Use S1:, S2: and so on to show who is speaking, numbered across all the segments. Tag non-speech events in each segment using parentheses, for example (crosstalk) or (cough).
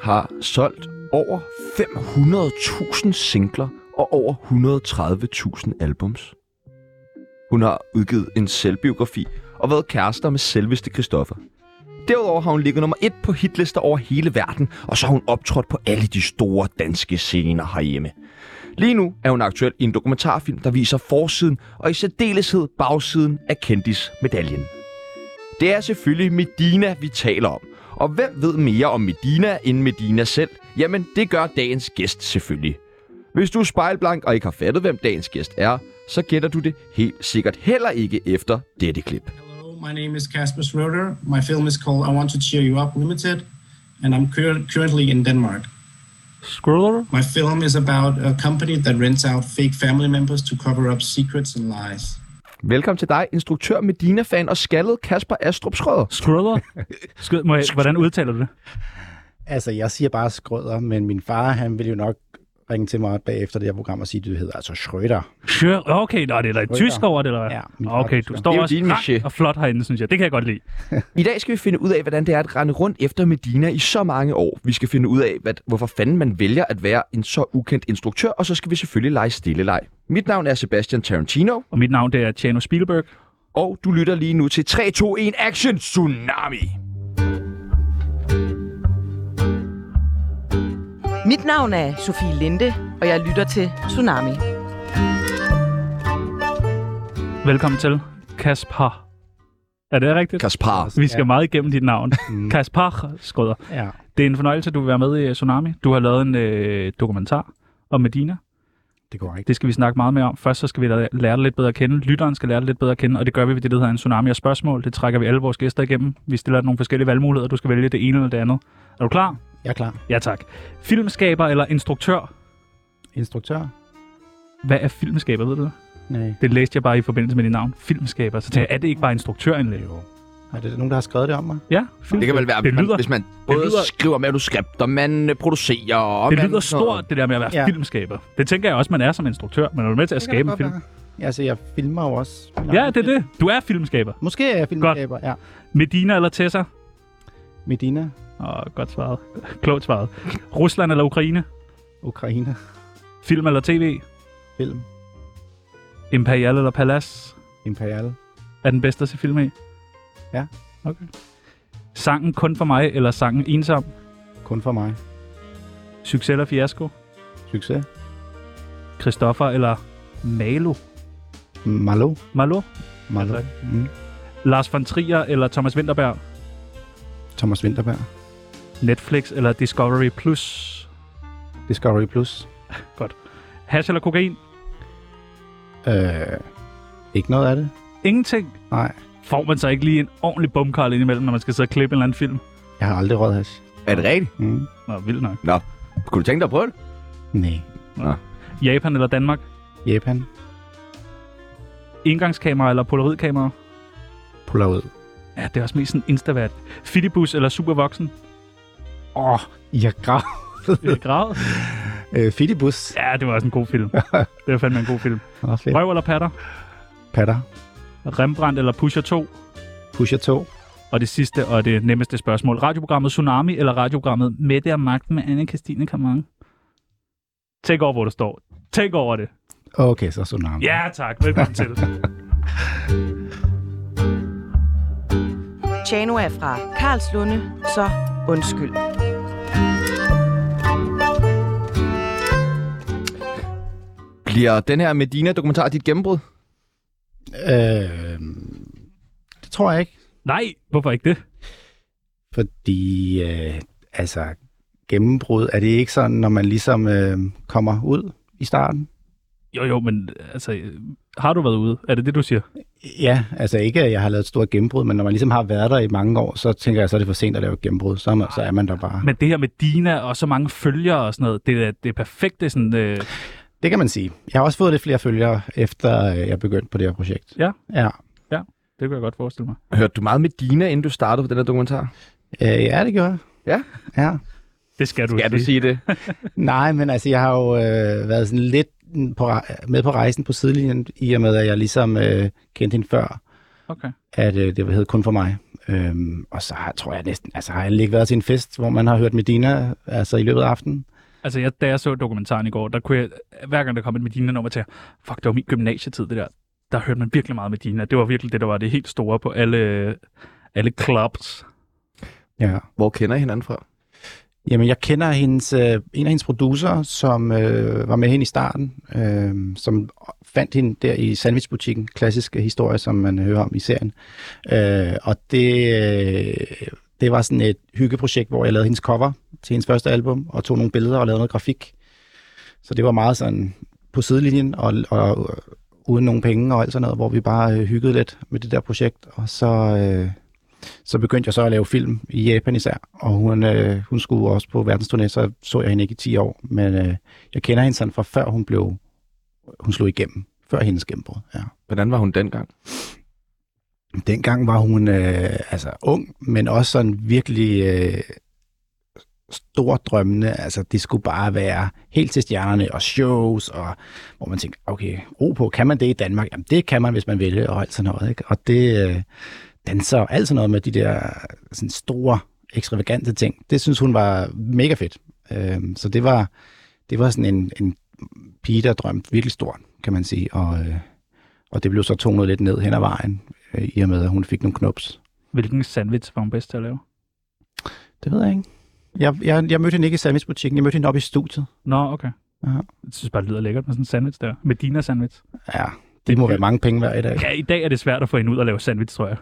S1: har solgt over 500.000 singler og over 130.000 albums. Hun har udgivet en selvbiografi og været kærester med selveste Christoffer. Derudover har hun ligget nummer et på hitlister over hele verden, og så har hun optrådt på alle de store danske scener herhjemme. Lige nu er hun aktuel i en dokumentarfilm, der viser forsiden og i særdeleshed bagsiden af kendismedaljen. Det er selvfølgelig Medina, vi taler om. Og hvem ved mere om Medina end Medina selv? Jamen, det gør dagens gæst selvfølgelig. Hvis du er spejlblank og ikke har fattet, hvem dagens gæst er, så gætter du det helt sikkert heller ikke efter dette klip.
S2: Hello, my name is Casper Schroeder. My film is called I Want to Cheer You Up Limited, and I'm cur- currently in Denmark.
S3: Scroller?
S2: My film is about a company that rents out fake family members to cover up secrets and lies.
S1: Velkommen til dig, instruktør Medina-fan og skaldet Kasper Astrup Schrøder.
S3: (laughs) Scroller? Skød, må jeg, hvordan udtaler du det?
S4: Altså, jeg siger bare skrøder, men min far, han vil jo nok ringe til mig bagefter det her program og sige, at det hedder altså Schrøder.
S3: Sure. Okay, nå, det er der et
S4: Rytter.
S3: tysk over det, eller hvad?
S4: Ja, min far er
S3: Okay, du
S4: tysker.
S1: Det er
S3: står
S1: jo
S3: også
S1: din
S3: rank
S1: maché.
S3: og flot herinde, synes jeg. Det kan jeg godt lide.
S1: I dag skal vi finde ud af, hvordan det er at rende rundt efter Medina i så mange år. Vi skal finde ud af, hvad, hvorfor fanden man vælger at være en så ukendt instruktør, og så skal vi selvfølgelig lege stille leg. Mit navn er Sebastian Tarantino,
S3: Og mit navn, det er Tjano Spielberg.
S1: og du lytter lige nu til 3, 2, 1, Action Tsunami!
S5: Mit navn er Sofie Linde, og jeg lytter til Tsunami.
S3: Velkommen til Kaspar. Er det rigtigt?
S1: Kaspar.
S3: Vi skal meget igennem dit navn. Kaspar Skrøder.
S4: Ja.
S3: Det er en fornøjelse, at du vil være med i øh, Tsunami. Du har lavet en øh, dokumentar om Medina.
S4: Det går ikke.
S3: Det skal vi snakke meget mere om. Først så skal vi la- lære dig lidt bedre at kende. Lytteren skal lære dig lidt bedre at kende, og det gør vi ved det, der hedder en tsunami af spørgsmål. Det trækker vi alle vores gæster igennem. Vi stiller dig nogle forskellige valgmuligheder. Du skal vælge det ene eller det andet. Er du klar?
S4: Jeg er klar.
S3: Ja tak. Filmskaber eller instruktør?
S4: Instruktør?
S3: Hvad er filmskaber, ved du det?
S4: Nej.
S3: Det læste jeg bare i forbindelse med dit navn. Filmskaber. Så tænkte jeg, er det ikke bare instruktørindlæg?
S4: Jo. Er det nogen, der har skrevet det om mig?
S3: Ja,
S1: Det kan vel være,
S3: det
S1: hvis man,
S3: lyder,
S1: hvis man både
S3: lyder-
S1: skriver manuskripter, man øh, producerer og...
S3: det
S1: man-
S3: lyder stort, det der med at være
S4: Ja.
S3: filmskaber. Det tænker jeg også, man er som instruktør. Man er jo med til at skabe en film.
S4: Ja, altså, jeg filmer jo også. min
S3: Ja,
S4: egen
S3: det er
S4: film.
S3: det. Du er filmskaber.
S4: Måske er jeg filmskaber, ja.
S3: Medina eller Tessa?
S4: Medina,
S3: Åh, godt svaret. Klogt svaret. Rusland eller Ukraine?
S4: Ukraine,
S3: Film eller tv?
S4: film,
S3: Imperial eller Palace
S4: Imperial.
S3: er den bedste at se film i?
S4: Ja.
S3: Okay. Sangen Kun for mig eller sangen Ensom?
S4: Kun for mig.
S3: Succes eller fiasko?
S4: Succes.
S3: Christoffer eller Malo?
S4: Malo.
S3: Malo?
S4: Malo.
S3: Ja, tak.
S4: Mm.
S3: Lars von Trier eller Thomas Winterberg?
S4: Thomas Winterberg.
S3: Netflix eller Discovery Plus?
S4: Discovery Plus.
S3: Hash eller kokain?
S4: Øh, ikke noget af det.
S3: Ingenting.
S4: Nej.
S3: Får man så ikke lige en ordentlig bumkarl indimellem, når man skal sidde og klippe en eller anden film?
S4: Jeg har aldrig røget hash.
S1: Er det rigtigt?
S4: Mm.
S3: Nå, vildt nok.
S1: Kunne du tænke dig at prøve det?
S4: Nej.
S3: Japan eller Danmark?
S4: Japan.
S3: Indgangskamera eller polaroidkamera?
S4: Puller ud.
S3: Ja, det er også mest sådan instavært. Fidibus eller Supervoksen?
S4: Åh, oh, jeg grav.
S3: (laughs) Øh, Grad?
S4: øh, Fidibus.
S3: Ja, det var også en god (laughs) film. det var fandme en god film.
S4: Åh, fedt.
S3: Røv eller patter?
S4: Patter.
S3: Rembrandt eller Pusher 2?
S4: Pusher 2.
S3: Og det sidste og det nemmeste spørgsmål. Radioprogrammet Tsunami eller radioprogrammet Mette og Magten med anne Christine Kamang? Tænk over, hvor du står. Tænk over det.
S4: Okay, så Tsunami.
S3: Ja, tak. Velkommen til. (laughs)
S5: Tjano er fra Karlslunde, så undskyld.
S1: Bliver den her Medina-dokumentar dit gennembrud?
S4: Øh, det tror jeg ikke,
S3: Nej, hvorfor ikke det?
S4: fordi øh, altså, gennembrud, er det ikke sådan, når man ligesom øh, kommer ud i starten?
S3: Jo, jo, men altså, øh, har du været ude? Er det det, du siger?
S4: Ja, altså ikke, at jeg har lavet et stort gennembrud, men når man ligesom har været der i mange år, så tænker jeg, så er det for sent at lave et gennembrud. Så er man, så er man der bare.
S3: Men det her med Dina og så mange følgere og sådan noget, det er da det perfekte sådan... Øh,
S4: Det kan man sige. Jeg har også fået lidt flere følgere, efter øh, jeg begyndte på det her projekt.
S3: Ja.
S4: Ja,
S3: det kan jeg godt forestille mig.
S1: Hørte du meget Medina, inden du startede på den her dokumentar?
S4: øh, ja det gjorde jeg.
S1: Ja?
S4: Ja.
S3: Det skal du
S1: Ja, du sige det.
S4: Nej, men altså, jeg har jo øh, været sådan lidt på, re- med på rejsen på sidelinjen, i og med, at jeg ligesom øh, kendte hende før,
S3: Okay.
S4: at øh, det hed kun for mig. Øhm, og så har, tror jeg næsten, altså har jeg ikke været til en fest, hvor man har hørt Medina altså i løbet af aftenen?
S3: Altså, jeg, da jeg så dokumentaren i går, der kunne jeg, hver gang der kom et Medina-nummer til, fuck, det var min gymnasietid, det der. Der hørte man virkelig meget Medina. Det var virkelig det, der var det helt store på alle, alle clubs.
S4: Ja.
S1: Hvor kender I hinanden fra?
S4: Jamen, jeg kender hendes, øh, en af hendes producer, som øh, var med hende i starten, øh, som fandt hende der i sandwichbutikken, klassiske historie, som man hører om i serien. Øh, og det, øh, det var sådan et hyggeprojekt, hvor jeg lavede hendes cover til hendes første album, og tog nogle billeder og lavede noget grafik. Så det var meget sådan på sidelinjen, og, og uden nogen penge og alt sådan noget, hvor vi bare øh, hyggede lidt med det der projekt. Og så... Øh, så begyndte jeg så at lave film i Japan især, og hun, øh, hun skulle også på verdensturné, så så jeg hende ikke i 10 år, men øh, jeg kender hende sådan fra før hun blev, hun slog igennem, før hendes gennembrud, ja.
S1: Hvordan var hun dengang?
S4: Dengang var hun øh, altså ung, men også sådan virkelig øh, stor drømmende, altså det skulle bare være helt til stjernerne og shows, og hvor man tænkte, okay, ro på, kan man det i Danmark? Jamen det kan man, hvis man vil, og alt sådan noget, ikke? Og det... Øh, danser og alt sådan noget med de der sådan store, ekstravagante ting. Det synes hun var mega fedt. Øhm, så det var, det var sådan en, en pige, der drømte virkelig stort, kan man sige. Og, øh, og det blev så tonet lidt ned hen ad vejen, øh, i og med, at hun fik nogle knops.
S3: Hvilken sandwich var hun bedst til at lave?
S4: Det ved jeg ikke. Jeg, jeg, jeg mødte hende ikke i sandwichbutikken, jeg mødte hende oppe i studiet.
S3: Nå, okay.
S4: Ja.
S3: Jeg synes bare, det lyder lækkert med sådan en sandwich der. Medina sandwich.
S4: Ja, det må være mange penge hver i dag.
S3: Ja, i dag er det svært at få hende ud og lave sandwich, tror jeg.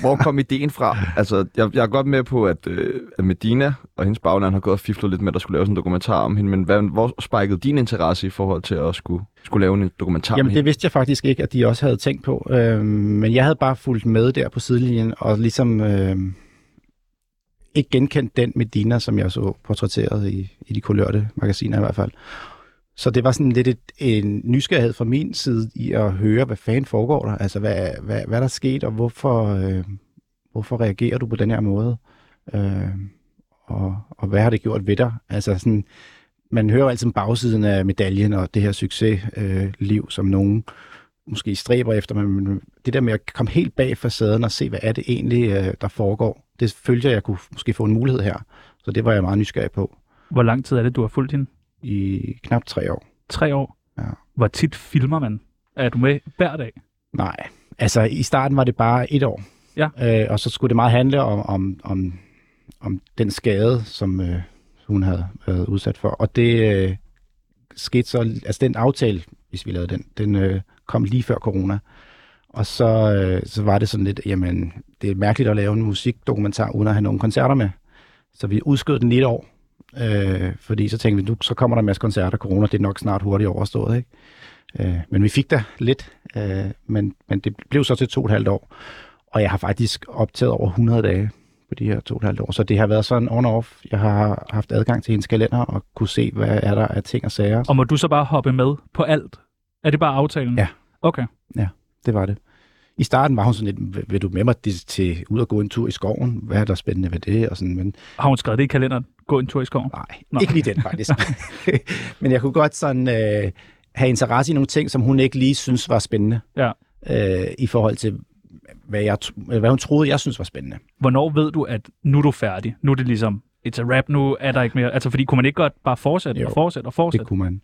S1: Hvor kom ideen fra? Altså, jeg, jeg er godt med på, at, øh, at Medina og hendes bagland har gået og fiflet lidt med, at der skulle laves en dokumentar om hende, men hvad, hvor spikede din interesse i forhold til at skulle, skulle lave en dokumentar om
S4: Jamen, det
S1: hende?
S4: vidste jeg faktisk ikke, at de også havde tænkt på. Øhm, men jeg havde bare fulgt med der på sidelinjen, og ligesom øhm, ikke genkendt den Medina, som jeg så portrætteret i, i de kulørte magasiner i hvert fald. Så det var sådan lidt et, en nysgerrighed fra min side i at høre, hvad fanden foregår der? Altså, hvad, hvad, hvad der er sket, og hvorfor, øh, hvorfor reagerer du på den her måde? Øh, og, og hvad har det gjort ved dig? Altså, sådan, man hører altid om bagsiden af medaljen og det her succesliv, øh, liv, som nogen måske stræber efter, men det der med at komme helt bag facaden og se, hvad er det egentlig, øh, der foregår, det følte jeg, jeg kunne måske få en mulighed her. Så det var jeg meget nysgerrig på
S3: Hvor lang tid er det, du har fulgt hende?
S4: i knap tre år.
S3: Tre år?
S4: Ja.
S3: Hvor tit filmer man? Er du med hver dag?
S4: Nej, altså i starten var det bare et år.
S3: Ja.
S4: Øh, og så skulle det meget handle om, om, om, om den skade, som øh, hun havde været udsat for. Og det øh, skete så, altså den aftale, hvis vi lavede den, den øh, kom lige før corona. Og så, øh, så var det sådan lidt, jamen det er mærkeligt at lave en musikdokumentar uden at have nogle koncerter med. Så vi udskød den lidt et år, øh, fordi så tænkte vi, nu så kommer der en masse koncerter, corona det er nok snart hurtigt overstået, ikke? Øh, men vi fik der lidt, øh, men, men det blev så til to og et halvt år. Og jeg har faktisk optaget over 100 dage på de her to og et halvt år. Så det har været sådan on-off. Jeg har haft adgang til hendes kalender og kunne se, hvad er der af ting og sager.
S3: Og må du så bare hoppe med på alt? Er det bare aftalen?
S4: Ja.
S3: Okay.
S4: Det var det. I starten var hun sådan lidt, "Vil- vil du med mig til- til ud og gå en tur i skoven? Hvad er der spændende ved det? Og sådan, men
S3: Har hun skrevet det i kalenderen? Gå en tur i skoven?
S4: Nej,
S3: Nå.
S4: Nå. ikke lige den faktisk. Men jeg kunne godt sådan øh, have interesse i nogle ting, som hun ikke lige synes var spændende.
S3: Ja.
S4: Øh, I forhold til, hvad, jeg, tro- hvad hun troede, jeg synes var spændende.
S3: Hvornår ved du, at nu er du færdig? Nu er det ligesom, it's a rap, nu er der ikke mere. Altså, fordi kunne man ikke godt bare fortsætte
S4: Jo.
S3: og fortsætte og fortsætte?
S4: Det kunne man.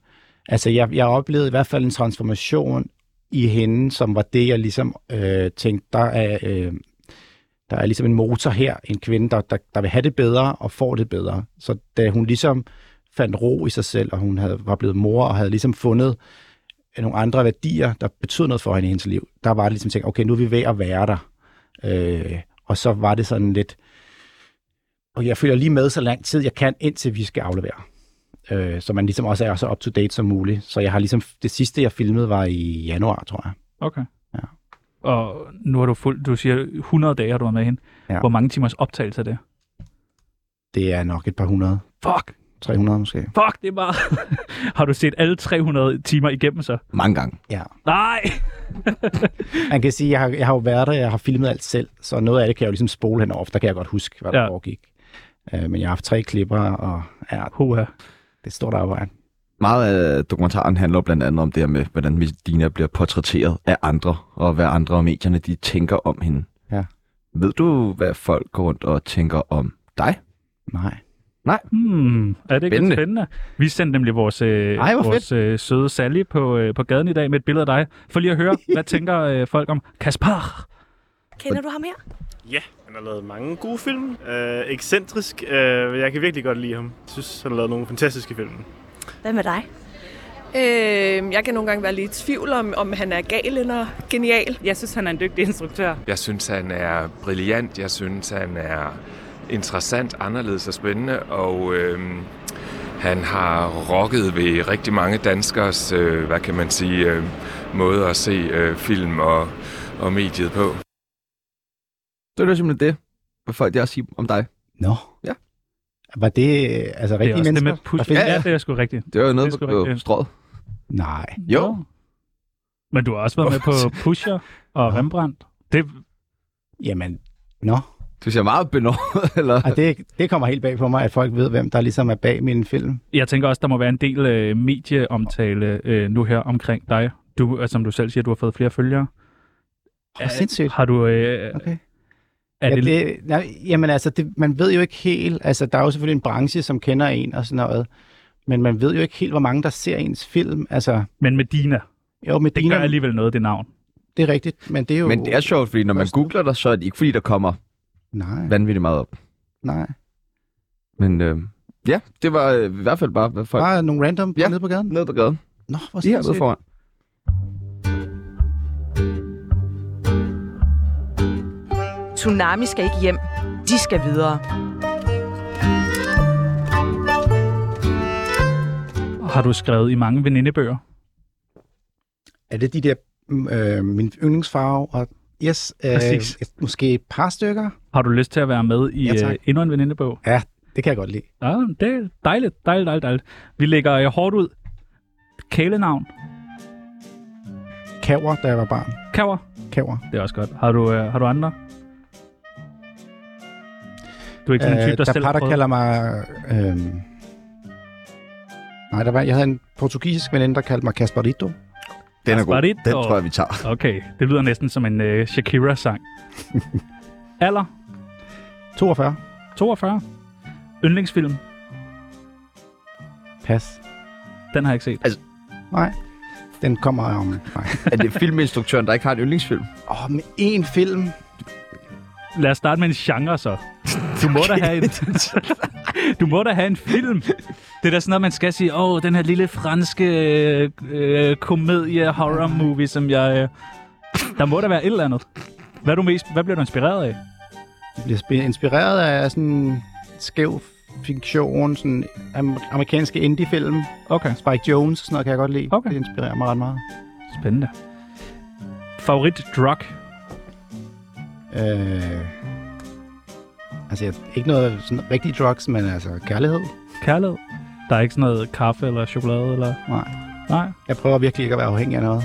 S4: Altså, jeg, jeg oplevede i hvert fald en transformation i hende, som var det, jeg ligesom øh, tænkte, der er, øh, der er ligesom en motor her, en kvinde, der, der, der vil have det bedre og får det bedre. Så da hun ligesom fandt ro i sig selv, og hun havde, var blevet mor og havde ligesom fundet nogle andre værdier, der betød noget for hende i hendes liv, der var det ligesom tænkt, okay, nu er vi ved at være der. Øh, og så var det sådan lidt, og jeg følger lige med så lang tid, jeg kan, indtil vi skal aflevere øh, så man ligesom også er så up-to-date som muligt. Så jeg har ligesom, det sidste jeg filmede var i januar, tror jeg.
S3: Okay.
S4: Ja.
S3: Og nu har du fuldt, du siger 100 dage har du været med hende.
S4: Ja.
S3: Hvor mange timers optagelse er det?
S4: Det er nok et par hundrede,
S3: Fuck,
S4: 300 måske.
S3: fuck, det er bare... (laughs) har du set alle 300 timer igennem så?
S1: Mange gange.
S4: Ja.
S3: Nej!
S4: Man kan sige, jeg har, jeg har jo været der, jeg har filmet alt selv, så noget af det kan jeg jo ligesom spole henover, for der kan jeg godt huske, hvad der
S3: Ja.
S4: ja. foregik. Øh, men jeg har haft tre klipper, og ja,
S3: Hoa.
S4: det er stort arbejde.
S1: Meget af dokumentaren handler blandt andet om det her med, hvordan Medina bliver portrætteret af andre, og hvad andre og medierne de tænker om hende.
S4: Ja.
S1: Ved du, hvad folk går rundt og tænker om dig?
S4: Nej.
S3: Hmm, er det ikke spændende.
S1: Spændende.
S3: spændende? Vi sendte nemlig vores, øh,
S4: Ej, hvor
S3: vores øh, søde Sally på, øh, på gaden i dag med et billede af dig. For lige at høre,
S4: (laughs)
S3: hvad tænker øh, folk om Kaspar?
S6: Kender du ham her?
S7: Ja, han har lavet mange gode film. Øh, ekscentrisk, øh, jeg kan virkelig godt lide ham. Jeg synes, han har lavet nogle fantastiske film.
S6: Hvad med dig?
S8: Øh, jeg kan nogle gange være lidt i tvivl om, om han er gal eller genial.
S9: Jeg synes, han er en dygtig instruktør.
S10: Jeg synes, han er brilliant. Jeg synes, han er interessant, anderledes og spændende. Og øhm, han har rocket ved rigtig mange danskers, øh, hvad kan man sige, øh, måde at se øh, film og, og mediet på.
S1: Det er jo simpelthen det, hvad folk der siger om dig.
S4: Nå.
S1: Ja.
S4: Var det øh, altså
S3: Det er
S4: rigtige
S3: også det
S4: mennesker?
S3: med
S4: der
S3: push.
S4: findes-
S3: Ja, ja, det er sgu rigtigt.
S1: Det var jo noget
S3: Det er
S1: på
S3: sgu
S1: på
S3: rigtigt.
S1: strået.
S4: Nej.
S1: Jo.
S3: Nå. Men du har også været med
S4: (laughs)
S3: på Pusher og Rembrandt. Det,
S4: Jamen, nå.
S1: Du ser meget benådet, (laughs) eller?
S4: Og det, det kommer helt bag på mig, at folk ved, hvem der ligesom er bag min film.
S3: jeg tænker også, der må være en del øh, medieomtale øh, nu her omkring dig. Du, altså, som du selv siger, du har fået flere følgere.
S4: Hvor sindssygt.
S3: Har du... Øh,
S4: Okay.
S3: er
S4: ja,
S3: det, det...
S4: det, nej, jamen altså, det, man ved jo ikke helt, altså der er jo selvfølgelig en branche, som kender en og sådan noget, men man ved jo ikke helt, hvor mange der ser ens film. Altså,
S3: Men Medina,
S4: jo, med
S3: det
S4: Dina,
S3: gør alligevel noget, det navn.
S4: det er rigtigt, men det er jo...
S1: Men det er sjovt, fordi når man googler dig, så er det ikke fordi, der kommer
S4: Nej,
S1: vanvittigt meget op.
S4: nej.
S1: Men øh, ja, det var øh, i hvert fald bare, hvad folk...
S4: Bare nogle random
S1: Ja.
S4: ja. nede på gaden.
S1: Ned på gaden.
S4: Nå, hvor
S1: Lige hernede
S4: sindssygt.
S1: foran.
S5: Tsunami skal ikke hjem. De skal videre.
S3: Har du skrevet i mange venindebøger?
S4: Er det de der, mm, øh, min yndlingsfarve og... Yes, øh,
S3: Præcis.
S4: et- måske et par stykker.
S3: Har du lyst til at være med i
S4: Ja,
S3: ja,
S4: tak.
S3: øh, endnu en venindebog?
S4: Det kan jeg godt lide.
S3: Ja, det er dejligt, dejligt, dejligt, dejligt. Vi lægger øh, hårdt ud. Kælenavn.
S4: Kaver, da jeg var barn.
S3: Kaver.
S4: Kaver.
S3: Det er også godt. Har du, øh, har du andre? Du er ikke sådan en type, Øh, der,
S4: der
S3: selv har
S4: par, der
S3: prøvet-
S4: Øh, kalder mig... Øhm... Nej, der var, jeg havde en portugisisk veninde, der kaldte mig Casparito.
S1: Den er god.
S3: Gasparito.
S1: Den tror jeg, vi tager.
S3: Okay, det lyder næsten som en øh, (laughs) Shakira-sang. Alder?
S4: 42.
S3: 42. Yndlingsfilm?
S4: Pas.
S3: Den har jeg ikke set.
S4: Nej. Den kommer om... Nej.
S1: (laughs) Er det filminstruktøren, der ikke har en yndlingsfilm?
S4: Åh, oh, med én film.
S3: Lad os starte med en genre så. Du må, da have en, du må da have en film. Det er da sådan noget, man skal sige, åh, den her lille franske øh, øh, komedie horror movie, som jeg... Øh, der må da være et eller andet. Hvad, er du mest, hvad bliver du inspireret af?
S4: Jeg bliver spi- inspireret af sådan skæv fiktion, sådan am- amerikanske indie-film.
S3: Okay,
S4: Spike Jones, sådan noget kan jeg godt lide.
S3: Okay.
S4: Det inspirerer mig ret meget.
S3: spændende. Favorit drug?
S4: Øh... Altså, jeg, ikke noget sådan rigtig drugs, men altså kærlighed.
S3: Kærlighed? Der er ikke sådan noget kaffe eller chokolade eller...
S4: Nej.
S3: Nej,
S4: Jeg prøver virkelig ikke at være afhængig af noget.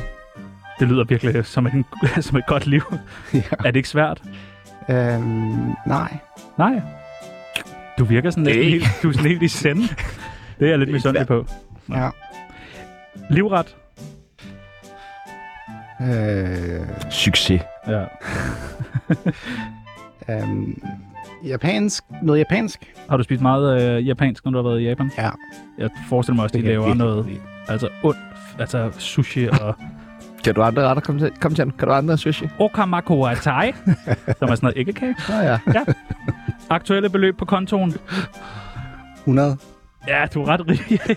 S3: det lyder virkelig som, en, (laughs) som et godt liv.
S4: (laughs) ja.
S3: Er det ikke svært?
S4: Øhm, nej.
S3: Nej. Du virker sådan næsten
S1: Hey.
S3: helt, du er sådan helt i sende. Det er jeg lidt misundelig på.
S4: Ja.
S3: Livret.
S4: Øh,
S1: Succes.
S3: Ja.
S4: øhm, japansk. Noget japansk.
S3: Har du spist meget øh, japansk, når du har været i Japan?
S4: Ja.
S3: Jeg forestiller mig også, at de
S4: kan jeg
S3: laver
S4: virkelig
S3: noget
S4: godt lide.
S3: altså ondt. Altså sushi og
S1: Kan du andre retter? Kom, til, kom til, Kan du andre sushi?
S3: okamakuatai, som er sådan noget æggekage.
S1: Nå ja.
S3: Aktuelle beløb på kontoen.
S4: 100.
S3: Ja, du er ret rig.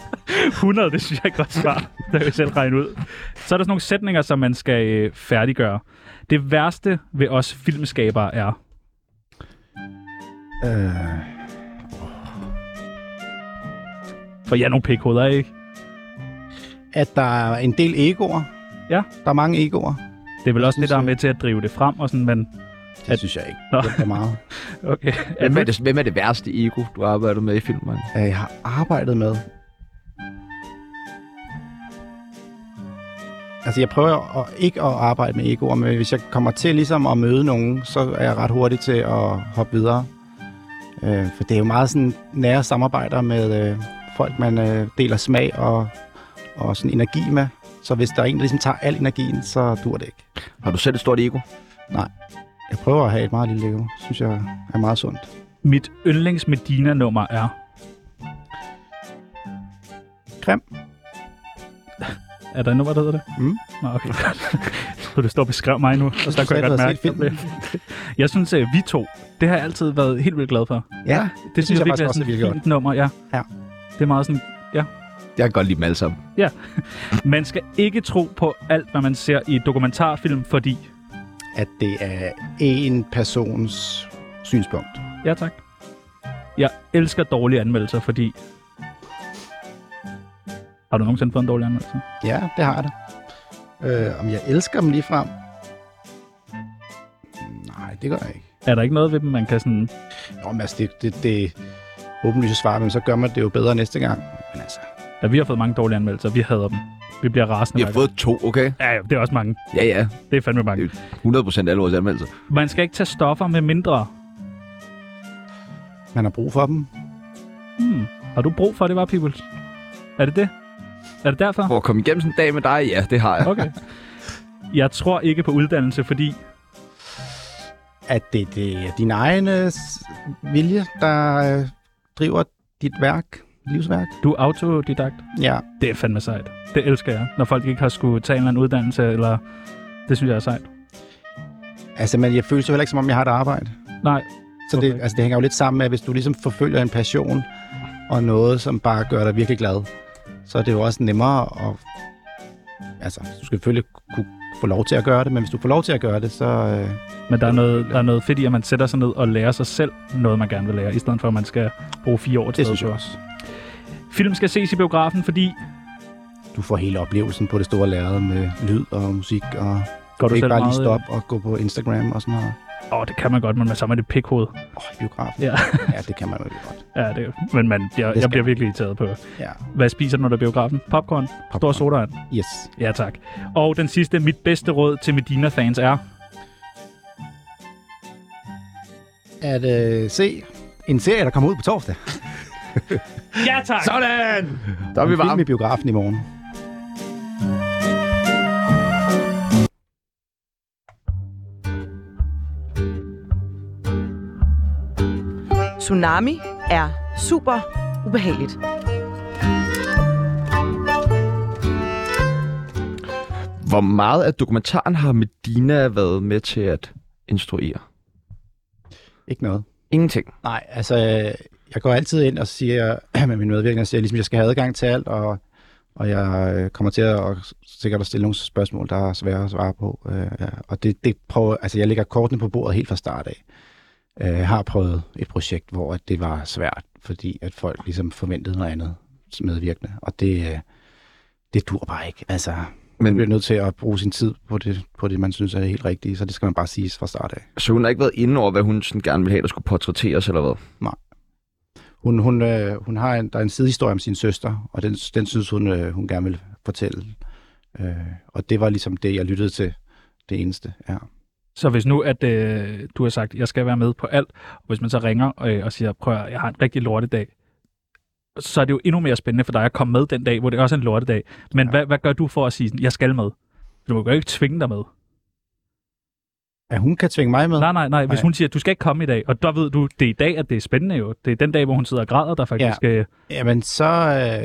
S3: (laughs) 100, det synes jeg er et godt svar. Det vil jeg selv regne ud. Så er der sådan nogle sætninger, som man skal øh, færdiggøre. Det værste ved os filmskabere er...
S4: Øh,
S3: For jeg er nogle pikhoveder, ikke?
S4: at der er en del egoer.
S3: Ja.
S4: Der er mange egoer.
S3: Det er vel også det,
S4: synes,
S3: der er
S4: øh,
S3: med til at drive det frem, og sådan, men
S4: Det
S3: At-
S4: synes jeg ikke.
S3: Nå.
S4: Det er meget.
S3: okay.
S1: Hvem er, det, hvem er det værste ego, du har arbejdet med i filmen?
S4: Øh, jeg har arbejdet med. Altså, jeg prøver at, ikke at arbejde med egoer, men hvis jeg kommer til ligesom at møde nogen, så er jeg ret hurtig til at hoppe videre. Øh, for det er jo meget sådan nære samarbejder med øh, folk, man øh, deler smag og, og sådan energi med. Så hvis der er en, der ligesom tager al energien, så dur det ikke.
S1: Har du selv et stort ego?
S4: Jeg prøver at have et meget lille ego. Synes jeg er meget sundt.
S3: Mit yndlings Medina-nummer er...
S4: Grim.
S3: (laughs) Er der et nummer, der hedder det?
S4: Mm.
S3: Nå, okay. (laughs) Så du står og beskrev mig nu, og
S4: synes,
S3: så kan
S4: du sagde,
S3: jeg godt
S4: du havde
S3: mærke
S4: set filmen.
S3: det. (laughs) Jeg synes, at vi to, det har jeg altid været helt vildt glad for.
S4: Ja,
S3: Det, det synes jeg,
S4: jeg
S3: virkelig
S4: faktisk
S3: er
S4: også,
S3: sådan
S4: det
S3: et
S4: virker
S3: fint nummer, ja.
S4: Ja.
S3: Det er meget sådan,
S1: Jeg kan godt lide dem alle sammen.
S3: man skal ikke tro på alt, hvad man ser i dokumentarfilm, fordi...
S4: at det er en persons synspunkt.
S3: Ja, tak. Jeg elsker dårlige anmeldelser, fordi... Har du nogensinde fået en dårlig anmeldelse?
S4: Ja, det har jeg da. Øh, om jeg elsker dem lige frem? Nej, det gør jeg ikke.
S3: Er der ikke noget ved dem, man kan sådan...
S4: Nå, men altså, det, det, det åbenlyse svar, men så gør man det jo bedre næste gang. Men altså,
S3: Ja, vi har fået mange dårlige anmeldelser. Vi hader dem. Vi bliver rasende.
S1: Jeg
S3: hver
S1: har
S3: gang.
S1: fået to, okay?
S3: Ja, ja, det er også mange.
S1: Ja, ja.
S3: Det er fandme mange.
S1: Det er 100% alle vores anmeldelser.
S3: Man skal ikke tage stoffer med mindre.
S4: man har brug for dem.
S3: Hmm. Har du brug for det, var Peoples? Er det det? Er det derfor?
S1: For at komme igennem sådan en dag med dig, ja, det har jeg.
S3: Okay. Jeg tror ikke på uddannelse, fordi...
S4: At det, det er din egen øh, s- vilje, der øh, driver dit værk, livsværk.
S3: Du er autodidakt.
S4: Ja,
S3: Det er fandme sejt. Det elsker jeg. Når folk ikke har skulle tage en eller anden uddannelse, eller... Det synes jeg er sejt.
S4: altså, men jeg føler jo heller ikke, som om jeg har et arbejde.
S3: Nej.
S4: Så det,
S3: Okay.
S4: altså, det hænger jo lidt sammen med, at hvis du ligesom forfølger en passion og noget, som bare gør dig virkelig glad, så er det jo også nemmere at... Altså, du skal selvfølgelig kunne få lov til at gøre det, men hvis du får lov til at gøre det, så... Øh,
S3: Men der er, noget, der er noget fedt i, at man sætter sig ned og lærer sig selv noget, man gerne vil lære, i stedet for, at man skal bruge fire år til
S4: det synes jeg også.
S3: Film skal ses i biografen, fordi...
S4: Du får hele oplevelsen på det store lærred med lyd og musik, og
S3: Går du
S4: ikke
S3: selv
S4: bare lige
S3: meget... øh?
S4: stoppe og gå på Instagram og sådan noget.
S3: Åh, oh, det kan man godt, men man så er man det pikhoved.
S4: Åh, oh,
S3: (laughs)
S4: biograf.
S3: Ja.
S4: ja, det kan man jo ikke godt.
S3: Ja, det, men man, jeg, jeg
S4: skal
S3: bliver
S4: man.
S3: virkelig irriteret på.
S4: Ja.
S3: Hvad spiser du, når du er i biografen? Popcorn? Stor
S4: Popcorn.
S3: sodavand?
S4: Yes.
S3: Ja, tak. Og den sidste, mit bedste råd til Medina-fans er...
S4: At øh, se en serie, der kommer ud på torsdag.
S3: Ja, tak!
S1: Sådan! Der er vi
S4: en film
S1: varme.
S4: i biografen i morgen.
S5: Tsunami er super ubehageligt.
S1: Hvor meget af dokumentaren har Medina været med til at instruere?
S4: Ikke noget.
S1: Ingenting.
S4: Nej, altså, øh, jeg går altid ind og siger (clears throat) med min medvirkende, og siger, ligesom, jeg skal have adgang til alt, og, og jeg øh, kommer til at og sikkert at stille nogle spørgsmål, der er svære at svare på. Øh, ja. og det, det prøver, altså, jeg lægger kortene på bordet helt fra start af. Øh, Jeg har prøvet et projekt, hvor at det var svært, fordi at folk ligesom forventede noget andet medvirkende, og det, øh, det dur bare ikke. Altså, man bliver
S1: Men
S4: nødt til at bruge sin tid på det, på det, man synes er det helt rigtige, så det skal man bare sige fra start af.
S1: så hun har ikke været inde over, hvad hun sådan gerne ville have, der skulle portrætteres eller hvad?
S4: Hun, hun, øh, hun har en, der er en sidehistorie om sin søster, og den, den synes hun, øh, hun gerne vil fortælle. Øh, og det var ligesom det, jeg lyttede til. Det eneste, ja.
S3: Så hvis nu, at øh, du har sagt, jeg skal være med på alt, og hvis man så ringer øh, og siger, prøv at høre, jeg har en rigtig lortedag, så er det jo endnu mere spændende for dig at komme med den dag, hvor det også er en lortedag. Men ja.
S4: Ja.
S3: hvad, hvad gør du for at sige, sådan, jeg skal med? Du må jo ikke tvinge dig med.
S4: At hun kan tvinge mig med.
S3: Nej, nej, nej. Hvis
S4: Nej.
S3: hun siger, du skal ikke komme i dag, og der ved du, det er i dag, at det er spændende jo. Det er den dag, hvor hun sidder og græder, der faktisk... Ja. Øh,
S4: Jamen, så,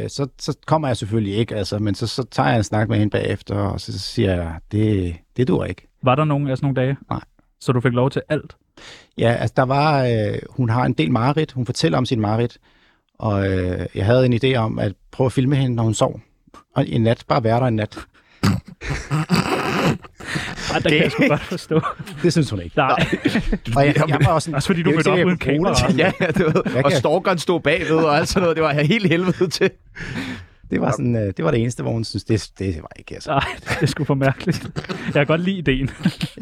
S4: øh, så, så kommer jeg selvfølgelig ikke, altså, men så, så tager jeg en snak med hende bagefter, og så, så siger jeg, det, det dur ikke.
S3: var der nogen af sådan nogle dage?
S4: Nej.
S3: Så du fik lov til alt?
S4: Ja, altså der var, øh, hun har en del mareridt, hun fortæller om sin mareridt, og øh, jeg havde en idé om at prøve at filme hende, når hun sov. Og en nat, bare være der en nat.
S3: Ej, det kan jeg sgu godt
S4: (laughs)
S3: forstå.
S4: Det synes hun ikke.
S3: Nej,
S4: Og jeg, jeg var
S3: (laughs)
S4: også
S3: også
S4: sådan,
S3: altså, fordi du
S4: det er jo
S3: mødte
S4: ikke
S3: op
S4: sikkert,
S3: uden
S4: jeg
S3: kamera.
S4: kunne bruge det
S1: Ja,
S4: til-
S1: ja, det var,
S4: Hvad
S1: og
S4: kan-
S1: stalkeren stod bagved og alt sådan noget. Det var jeg helt helvede til.
S4: (laughs) Det var, sådan, øh, det var det eneste, hvor hun synes, det, det var ikke. Altså.
S3: Nej, det er sgu for mærkeligt. Jeg kan godt lide ideen.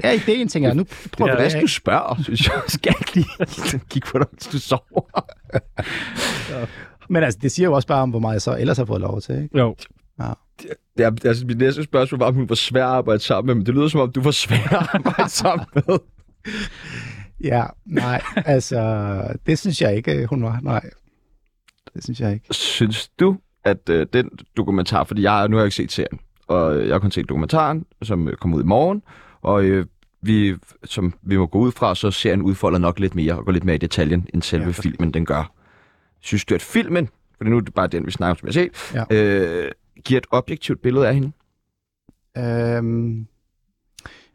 S4: Ja, ideen tænker jeg, nu prøver
S1: Det
S4: vi
S1: er
S4: det.
S1: du
S4: ikke?
S1: spørger, synes jeg. (laughs) Skal jeg ikke lige kigge på dig, hvis du sover?
S4: Men altså, det siger jo også bare om, hvor meget jeg så ellers har fået lov til. Ikke?
S3: Jo,
S1: Ja, altså, mit næste spørgsmål var, om hun var svær at arbejde sammen med, men det lyder som om, du var svær at arbejde sammen med.
S4: Ja, nej, altså, det synes jeg ikke, øh, hun var. Nej, det synes jeg ikke.
S1: Synes du, at øh, den dokumentar, fordi jeg, nu har jeg ikke set serien, og øh, jeg har kun set dokumentaren, som øh, kom ud i morgen, og øh, vi, som vi må gå ud fra, så serien udfolder nok lidt mere og går lidt mere i detaljen, end selve
S4: Ja,
S1: ja,
S4: for-
S1: filmen den gør. Synes du, at filmen, for nu er det bare den, vi snakker om, som jeg har set, ja. øh, giver et objektivt billede af hende?
S4: Øhm,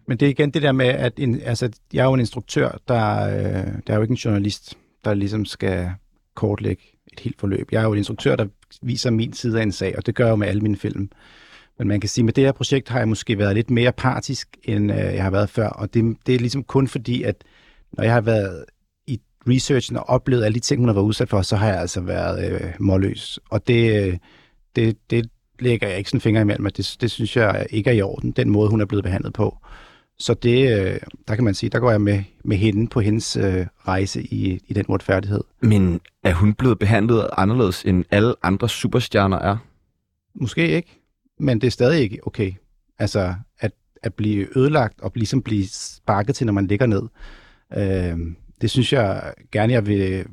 S4: men det er igen det der med, at en, altså, jeg er jo en instruktør, der, øh, der er jo ikke en journalist, der ligesom skal kortlægge et helt forløb. Jeg er jo en instruktør, der viser min side af en sag, og det gør jeg jo med alle mine film. Men man kan sige, at med det her projekt har jeg måske været lidt mere partisk, end øh, jeg har været før, og det, det er ligesom kun fordi, at når jeg har været i researchen og oplevet alle de ting, hun har været udsat for, så har jeg altså været øh, målløs. Og det, øh, det, det, lægger jeg ikke sådan fingre imellem, at det, det synes jeg ikke er i orden, den måde, hun er blevet behandlet på. Så det, øh, der kan man sige, der går jeg med, med hende på hendes øh, rejse i, i den uretfærdighed.
S1: Men er hun blevet behandlet anderledes, end alle andre superstjerner er?
S4: Måske ikke, men det er stadig ikke okay. Altså, at, at blive ødelagt og ligesom blive sparket til, når man ligger ned. Øh, det synes jeg gerne, jeg vil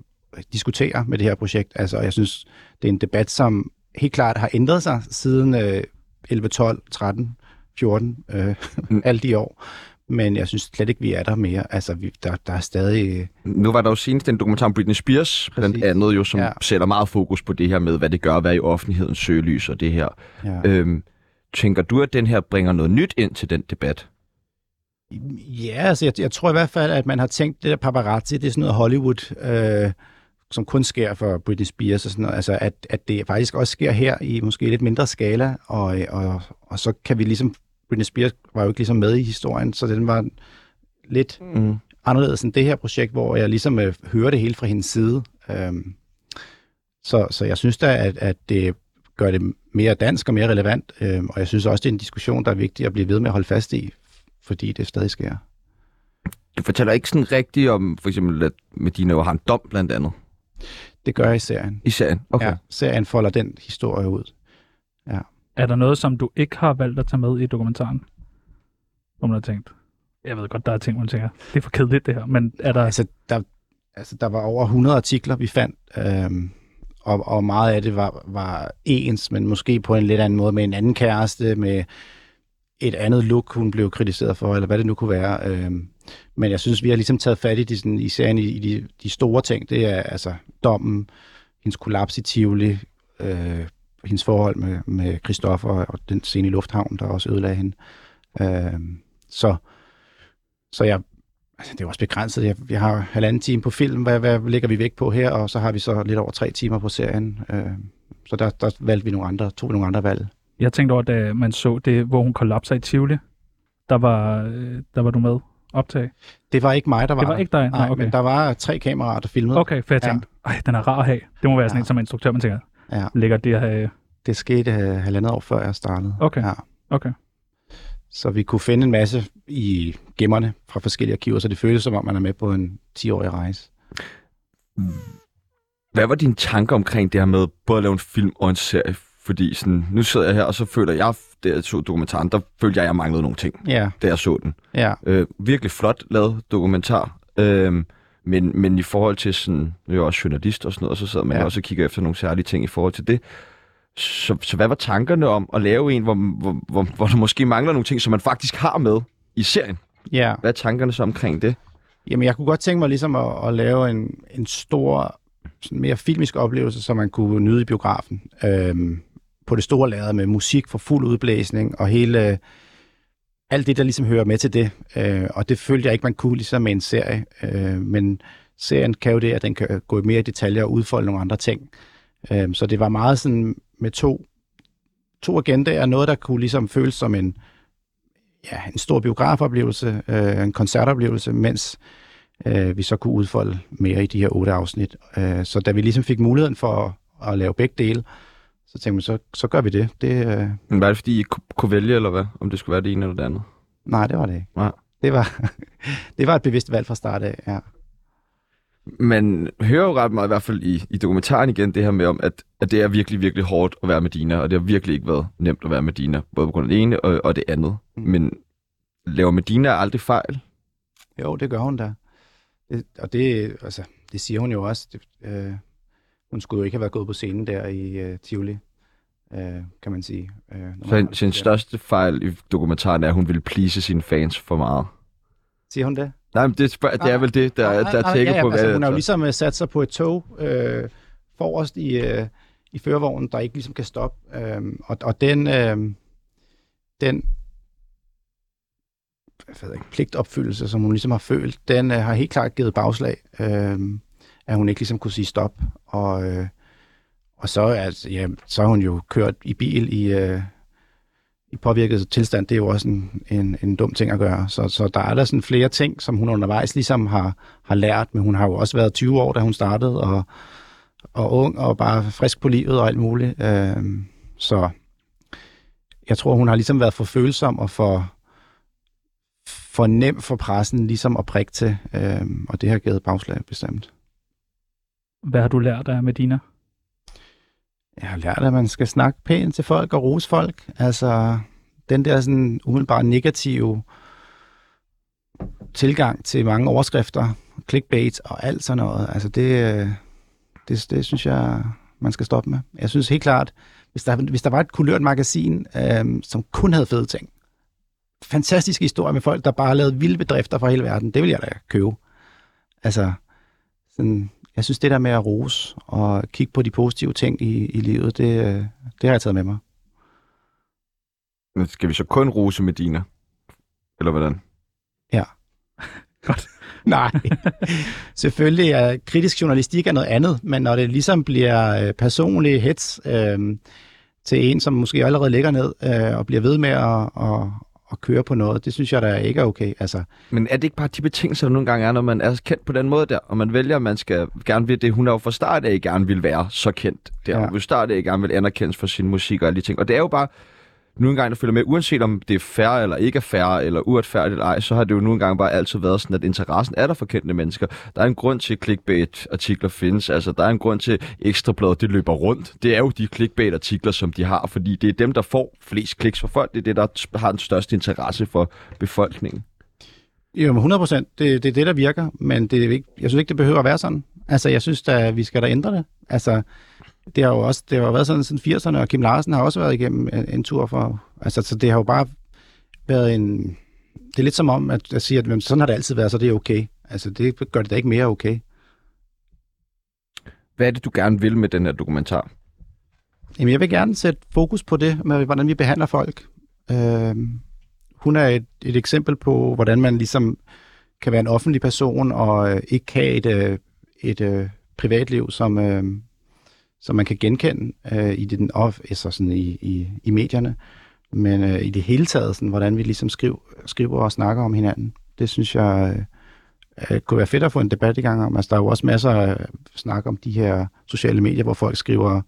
S4: diskutere med det her projekt. Altså, jeg synes, det er en debat, som helt klart har ændret sig siden øh, 11, 12, 13, 14, øh, (laughs) alle de år. Men jeg synes slet ikke, vi er der mere. Altså, vi, der, der er stadig... Øh,
S1: Nu var der jo senest en dokumentar om Britney Spears, Præcis. blandt
S4: Præcis.
S1: andet jo, som ja.
S4: Ja.
S1: sætter meget fokus på det her med, hvad det gør at være i offentlighedens søgelys og det her.
S4: ja.
S1: Øhm, tænker du, at den her bringer noget nyt ind til den debat?
S4: Ja, altså jeg, jeg tror i hvert fald, at man har tænkt, det der paparazzi, det er sådan noget Hollywood, øh, som kun sker for Britney Spears og sådan noget, altså at, at det faktisk også sker her i måske lidt mindre skala, og, øh, og, og så kan vi ligesom, Britney Spears var jo ikke ligesom med i historien, så den var lidt
S1: Mm.
S4: anderledes end det her projekt, hvor jeg ligesom øh, hører det hele fra hendes side. Øhm, så, så jeg synes da, at, at det gør det mere dansk og mere relevant, øhm, og jeg synes også, det er en diskussion, der er vigtig at blive ved med at holde fast i, fordi det stadig sker.
S1: Du fortæller ikke sådan rigtigt om, for eksempel, at Medina jo har en dom blandt andet
S4: Det gør jeg i serien.
S1: i serien. Okay.
S4: Ja,
S1: Ja.
S4: serien folder den historie ud.
S3: Er der noget, som du ikke har valgt at tage med i dokumentaren? Hvor man har tænkt. Jeg ved godt, der er ting, man tænker. Det er for kedeligt, det her. Men er der...
S4: Altså, der, altså, der var over 100 artikler, vi fandt, øhm, og, og meget af det var, var ens, men måske på en lidt anden måde med en anden kæreste, med et andet look, hun blev kritiseret for, eller hvad det nu kunne være. Øhm, men jeg synes, vi har ligesom taget fat i, de, sådan, i serien i, i de, de store ting. Det er altså dommen, hendes kollaps i Tivoli, øh, hendes forhold med, med Christoffer og den scene i Lufthavn, der også ødelagde hende. Øhm, så, så jeg Altså, det er jo også begrænset. Jeg, jeg har halvanden time på film. Hvad, hvad lægger vi væk på her? Og så har vi så lidt over tre timer på serien. Øh, så der, der valgte vi nogle andre, tog vi nogle andre valg.
S3: Jeg tænkte over, da man så det, hvor hun kollapser i Tivoli. Der var, øh, der var du med optag.
S4: Det var ikke mig, der var,
S3: Det var
S4: der.
S3: ikke dig?
S4: Nej,
S3: Nej, okay.
S4: men der var tre kameraer, der filmede.
S3: Okay, for jeg
S4: Ja.
S3: tænkte, ej, den er rar at have. Det må være sådan
S4: Ja.
S3: en, som instruktør, man tænker,
S4: Ja.
S3: lækker det her.
S4: Det skete øh, halvandet år før jeg startede.
S3: Okay.
S4: Ja.
S3: Okay.
S4: Så vi kunne finde en masse i gemmerne fra forskellige arkiver, så det føltes som om, man er med på en 10-årig rejse.
S1: Hvad var dine tanker omkring det her med både at lave en film og en serie? Fordi sådan, nu sidder jeg her, og så føler jeg, da jeg så dokumentaren, der følte jeg, at jeg manglede nogle ting,
S4: Ja,
S1: da jeg så den.
S4: ja.
S1: Øh, virkelig flot lavet dokumentar. Øh, men, men i forhold til sådan, nu er jeg også journalist og sådan noget, og så sidder man
S4: Ja.
S1: ja. også og kigger efter nogle særlige ting i forhold til det. Så, så hvad var tankerne om at lave en, hvor, hvor, hvor, hvor der måske mangler nogle ting, som man faktisk har med i serien?
S4: ja.
S1: Hvad er tankerne så omkring det?
S4: Jamen, jeg kunne godt tænke mig ligesom at, at lave en, en stor, sådan mere filmisk oplevelse, som man kunne nyde i biografen. Øhm, på det store lader med musik for fuld udblæsning og hele alt det, der ligesom hører med til det. Øh, og det følte jeg ikke, man kunne ligesom med en serie. Øh, men serien kan jo det, at den kan gå mere i detaljer og udfolde nogle andre ting. Øh, så det var meget sådan med to, to agendaer. Noget, der kunne ligesom føles som en, ja, en stor biografoplevelse, øh, en koncertoplevelse, mens øh, vi så kunne udfolde mere i de her otte afsnit. Øh, så da vi ligesom fik muligheden for at, at lave begge dele, så tænkte vi, så, så gør vi det. det øh,
S1: Men var det, fordi I ikke ku- kunne vælge, eller hvad? Om det skulle være det ene eller det andet?
S4: nej, det var det ikke.
S1: Nej.
S4: Det var, (laughs) det var et bevidst valg fra start af, ja.
S1: Man hører jo ret meget, i hvert fald i, i dokumentaren igen, det her med om, at, at det er virkelig, virkelig hårdt at være med Dina, og det har virkelig ikke været nemt at være med Dina, både på grund af det ene og, og det andet.
S4: Mm.
S1: Men laver Medina aldrig fejl?
S4: Jo, det gør hun da. Det, og det, altså, det siger hun jo også. Det, øh, hun skulle jo ikke have været gået på scenen der i øh, Tivoli, øh, kan man sige. Øh, når man
S1: Så
S4: har
S1: hendes
S4: det
S1: sin
S4: sådan.
S1: største fejl i dokumentaren er, at hun ville please sine fans for meget.
S4: Siger hun det?
S1: Nej, men det, spørg, det er vel det, der, der er tækket på, hvad
S4: altså, hun har jo
S1: det
S4: ligesom øh, sat sig på et tog øh, forrest i, øh, i førervognen, der ikke ligesom kan stoppe. Øh, og, og den, øh, den hvad ved jeg, pligtopfyldelse, som hun ligesom har følt, den øh, har helt klart givet bagslag, øh, at hun ikke ligesom kunne sige stop. Og, øh, og så, altså, ja, så har hun jo kørt i bil i... Øh, i påvirket tilstand, det er jo også en, en, en dum ting at gøre. Så, så der er der sådan flere ting, som hun undervejs ligesom har, har lært, men hun har jo også været 20 år, da hun startede, og, og ung, og bare frisk på livet og alt muligt. Øhm, så jeg tror, hun har ligesom været for følsom og for, for nem for pressen ligesom at prikke til, øhm, og det har givet bagslag bestemt.
S3: Hvad har du lært af Medina?
S4: Jeg har lært, at man skal snakke pænt til folk og rose folk. Altså, den der sådan umiddelbart negative tilgang til mange overskrifter, clickbait og alt sådan noget, altså det, øh, det, det synes jeg, man skal stoppe med. Jeg synes helt klart, hvis der, hvis der var et kulørt magasin, øh, som kun havde fede ting, fantastiske historier med folk, der bare lavede vilde bedrifter for hele verden, det vil jeg da købe. Altså, sådan, jeg synes, det der med at rose og kigge på de positive ting i, i livet, det, øh, det har jeg taget med mig.
S1: Men skal vi så kun rose Medina? Eller hvordan?
S4: Nej, (laughs) selvfølgelig er kritisk journalistik er noget andet, men når det ligesom bliver øh, personlig hets øh, til en, som måske allerede ligger ned øh, og bliver ved med at, at, at køre på noget, det synes jeg da ikke er okay. Altså,
S1: Men er det ikke bare de betingelser, der nogle gange er, når man er kendt på den måde der, og man vælger, at man skal gerne vil det, hun er jo fra start af gerne vil være så kendt der,
S4: Ja.
S1: ja. og fra start af gerne vil anerkendes for sin musik og alle de ting. Og det er jo bare, nu engang, der følger med, uanset om det er færre eller ikke er færre, eller uretfærdigt eller ej, så har det jo nu engang bare altid været sådan, at interessen er der for kendte mennesker. Der er en grund til, at clickbait-artikler findes. Altså, der er en grund til, at ekstrabladet det løber rundt. Det er jo de clickbait-artikler, som de har, fordi det er dem, der får flest kliks fra folk. Det er det, der t- har den største interesse for befolkningen.
S4: jo, men 100 procent, det, det er det, der virker, men det er ikke, jeg synes ikke, det behøver at være sådan. Altså, jeg synes da, vi skal da ændre det. Altså, det har jo også det har jo været sådan siden 80'erne, og Kim Larsen har også været igennem en, en tur for... Altså, så det har jo bare været en... Det er lidt som om, at jeg siger, at "Jamen, sådan har det altid været, så det er okay. Altså, det gør det da ikke mere okay.
S1: Hvad er det, du gerne vil med den her dokumentar?
S4: Jamen, jeg vil gerne sætte fokus på det med, hvordan vi behandler folk. Øh, hun er et, et eksempel på, hvordan man ligesom kan være en offentlig person og øh, ikke have et, øh, et øh, privatliv, som, øh, som man kan genkende øh, i, den off, altså sådan i, i, i medierne. Men øh, i det hele taget, sådan, hvordan vi ligesom skriv, skriver og snakker om hinanden, det synes jeg øh, øh, kunne være fedt at få en debat i gang om. Altså, der er jo også masser af snak om de her sociale medier, hvor folk skriver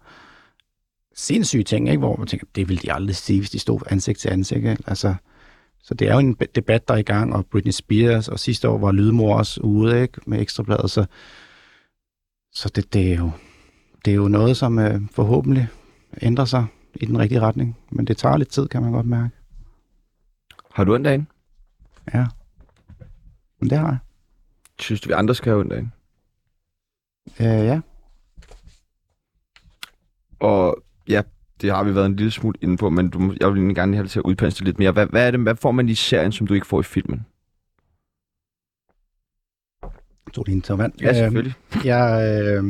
S4: sindssyge ting, ikke? hvor man tænker, det ville de aldrig sige, hvis de stod ansigt til ansigt. Ikke? Altså, så det er jo en be- debat, der er i gang, og Britney Spears, og sidste år var Lydmor også ude ikke? med ekstrabladet, så, så det, det, er jo, det er jo noget, som øh, forhåbentlig ændrer sig i den rigtige retning, men det tager lidt tid, kan man godt mærke.
S1: Har du en dag?
S4: Ja. Men det har jeg.
S1: Synes du, vi andre skal have en dag?
S4: Øh, ja.
S1: Og ja, det har vi været en lille smule inde på, men du, må- jeg vil egentlig gerne lige have dig til at udpensle det lidt mere. Hvad, hvad, er det, hvad får man i serien, som du ikke får i filmen?
S4: Jeg Tog lige en tår vand.
S1: Ja,
S4: Øhm,
S1: selvfølgelig.
S4: jeg, øh,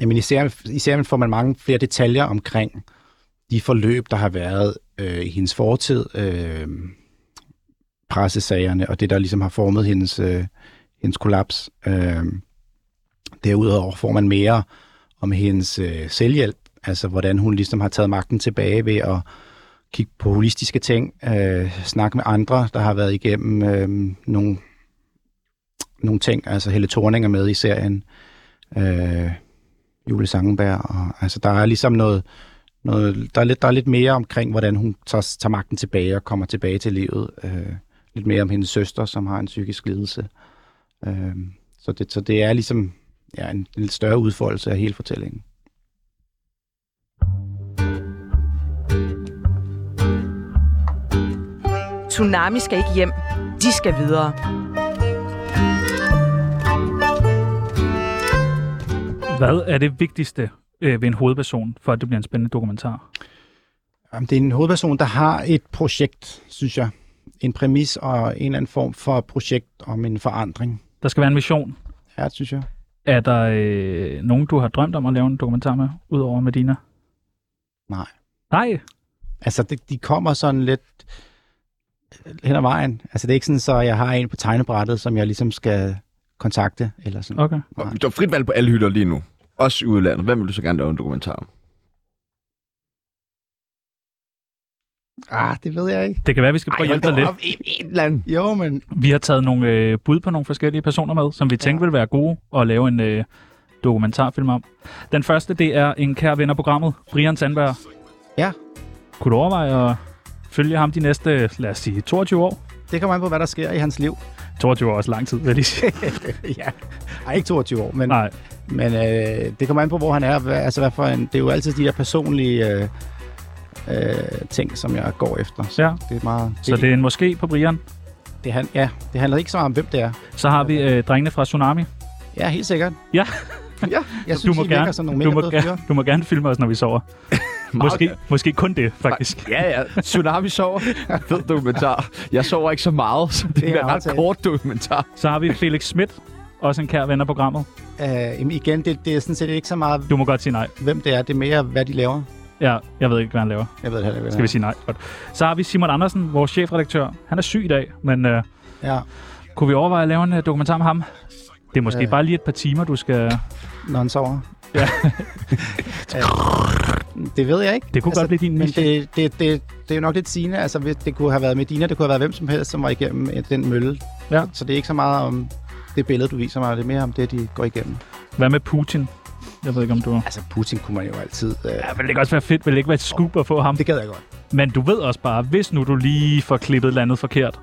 S4: jamen i, serien, I serien får man mange flere detaljer omkring de forløb, der har været øh, i hendes fortid, øh, pressesagerne og det, der ligesom har formet hendes, øh, hendes kollaps. Øh, derudover får man mere om hendes øh, selvhjælp, altså hvordan hun ligesom har taget magten tilbage ved at kigge på holistiske ting, øh, snakke med andre, der har været igennem øh, nogle nogle ting. Altså Helle Thorning er med i serien. Øh, Julie Sangenberg. Og, altså der er ligesom noget, noget der, er lidt, der er lidt mere omkring, hvordan hun tager, tager magten tilbage og kommer tilbage til livet. Øh, lidt mere om hendes søster, som har en psykisk lidelse. Øh, så, det, så det er ligesom ja, en, en lidt større udfoldelse af hele fortællingen.
S5: Tsunami skal ikke hjem. De skal videre.
S3: Hvad er det vigtigste øh, ved en hovedperson, for at det bliver en spændende dokumentar?
S4: Jamen, det er en hovedperson, der har et projekt, synes jeg. en præmis og en eller anden form for projekt om en forandring.
S3: Der skal være en mission.
S4: Ja, synes jeg.
S3: Er der øh, nogen, du har drømt om at lave en dokumentar med, udover Medina?
S4: Nej.
S3: Nej,
S4: Altså, det, de kommer sådan lidt hen ad vejen. Altså, det er ikke sådan, så jeg har en på tegnebrættet, som jeg ligesom skal kontakte, eller sådan.
S3: okay.
S4: Nej.
S1: Der er frit valg på alle hylder lige nu. Også i udlandet. Hvem vil du så gerne lave en dokumentar om?
S4: Ah, det ved jeg ikke.
S3: Det kan være, vi skal prøve at hjælpe dig lidt.
S1: En, en eller anden.
S4: Jo, men
S3: Vi har taget nogle øh, bud på nogle forskellige personer med, som vi tænkte ville være gode at lave en øh, dokumentarfilm om. Den første, det er en kær ven af programmet, Brian Sandberg.
S4: Ja.
S3: Kunne du overveje at følge ham de næste, lad os sige, 22 år?
S4: det kommer an på, hvad der sker i hans liv. (laughs)
S3: 22 år er også lang tid, vil jeg lige sige.
S4: ja. Ej, ikke 22 år, men,
S3: Nej,
S4: men øh, det kommer an på, hvor han er. Hvad, altså, hvad for en, det er jo altid de der personlige øh, øh, ting, som jeg går efter. Så
S3: ja.
S4: det er meget... Det,
S3: Så det er en måske på Brian.
S4: det, han, ja, det handler ikke så meget om, hvem det er.
S3: Så har vi øh, drengene fra Tsunami.
S4: Ja, helt sikkert.
S3: Ja.
S4: ja jeg
S3: (laughs)
S4: synes,
S3: du, må
S4: I virker
S3: gerne,
S4: som nogle
S3: du,
S4: mega
S3: må
S4: fede fyre.
S3: gerne, du må gerne filme os, når vi
S4: (laughs)
S3: sover. måske, måske kun det, faktisk.
S1: Ja, ja. Tsunami sover. Fed dokumentar. Jeg sover ikke så meget, så det,
S4: Det er
S1: det er en ret
S4: aftalt.
S1: kort dokumentar.
S3: Så har vi Felix Schmidt, også en kær ven af programmet.
S4: Øh, jamen igen, det, det er sådan set ikke så meget,
S3: Du må godt sige nej.
S4: hvem det er. Det er mere, hvad de laver.
S3: Ja, jeg ved ikke, hvad han laver.
S4: Jeg ved det heller ikke, hvad
S3: Skal vi
S4: det
S3: sige nej? Godt. Så har vi Simon Andersen, vores chefredaktør. Han er syg i dag, men øh,
S4: er. Ja,
S3: kunne vi overveje at lave en øh, dokumentar med ham? Det er måske
S4: Øh.
S3: øh. bare lige et par timer, du skal...
S4: når han sover. (laughs)
S3: Ja.
S4: Øh, det ved jeg ikke.
S3: Det kunne altså, godt blive din
S4: Men
S3: niche.
S4: det, det, det, det er jo nok lidt sigende. Altså, hvis det kunne have været Medina, det kunne have været hvem som helst, som var igennem øh, den mølle.
S3: Ja.
S4: Så det er ikke så meget om det billede, du viser mig. Det er mere om det, de går igennem.
S3: Hvad med Putin? Jeg ved ikke, om du...
S4: Altså, Putin kunne man jo altid... Øh,
S3: Ja, ville det ikke også være fedt? Ville det ikke være et scoop at få ham?
S4: det gad jeg godt.
S3: Men du ved også bare, hvis nu du lige får klippet landet forkert,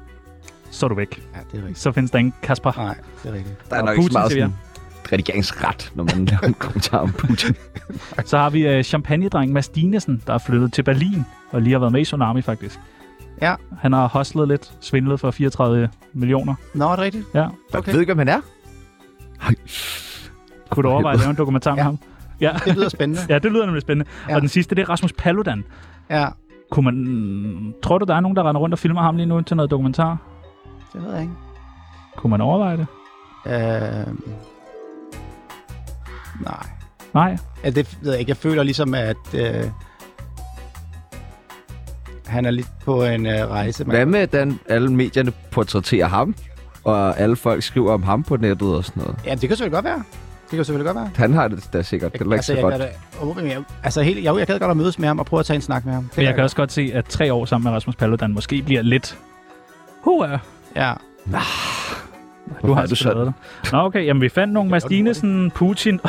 S3: så er du væk.
S4: Ja, det er rigtigt.
S3: Så findes der ingen Kasper.
S4: Nej, det Ah, er rigtigt.
S1: Der er
S3: Og
S1: nok ikke så
S3: Putin,
S1: meget
S3: siger
S1: sådan redigeringsret, når (laughs) man laver en kommentar om Putin.
S3: Så har vi øh, champagnedrengen Mads Dinesen, der er flyttet til Berlin og lige har været med i Tsunami, faktisk.
S4: Ja.
S3: Han har hostlet lidt, svindlet for 34 millioner.
S4: Nå, er det rigtigt?
S3: Ja.
S1: Jeg
S4: Okay.
S1: ved ikke, hvem han er.
S3: Kunne du overveje at lave en dokumentar med
S4: Ja.
S3: ham? Ja.
S4: Det lyder spændende. (laughs)
S3: ja, det lyder nemlig spændende.
S4: Ja.
S3: Ja. Og den sidste, det er Rasmus Paludan.
S4: ja,
S3: Kunne man, tror du, der er nogen, der render rundt og filmer ham lige nu til noget dokumentar?
S4: det ved jeg ikke.
S3: Kunne man overveje det?
S4: Øh, nej.
S3: Nej.
S4: Altså, det ved jeg ikke. Jeg føler ligesom, at øh, han er lidt på en øh, rejse. Man,
S1: Hvad med, hvordan alle medierne portrætterer ham? Og alle folk skriver om ham på nettet og sådan noget.
S4: Ja, det kan selvfølgelig godt være. Det kan selvfølgelig godt være.
S1: Han har det da sikkert. Det er ikke
S4: altså,
S1: så
S4: jeg,
S1: godt.
S4: gad da- åh, jeg, altså, helt, jeg, jeg gad godt at mødes med ham og prøve at tage en snak med ham. Det
S3: Men jeg
S4: gad
S3: kan også godt se, at tre år sammen med Rasmus Paludan måske bliver lidt... Hua,
S4: godt. Ja,
S3: du
S1: Hvorfor
S3: har
S1: er du
S3: altså lavet det. Nå, okay. Jamen, vi fandt nogle Mads Dinesen, Putin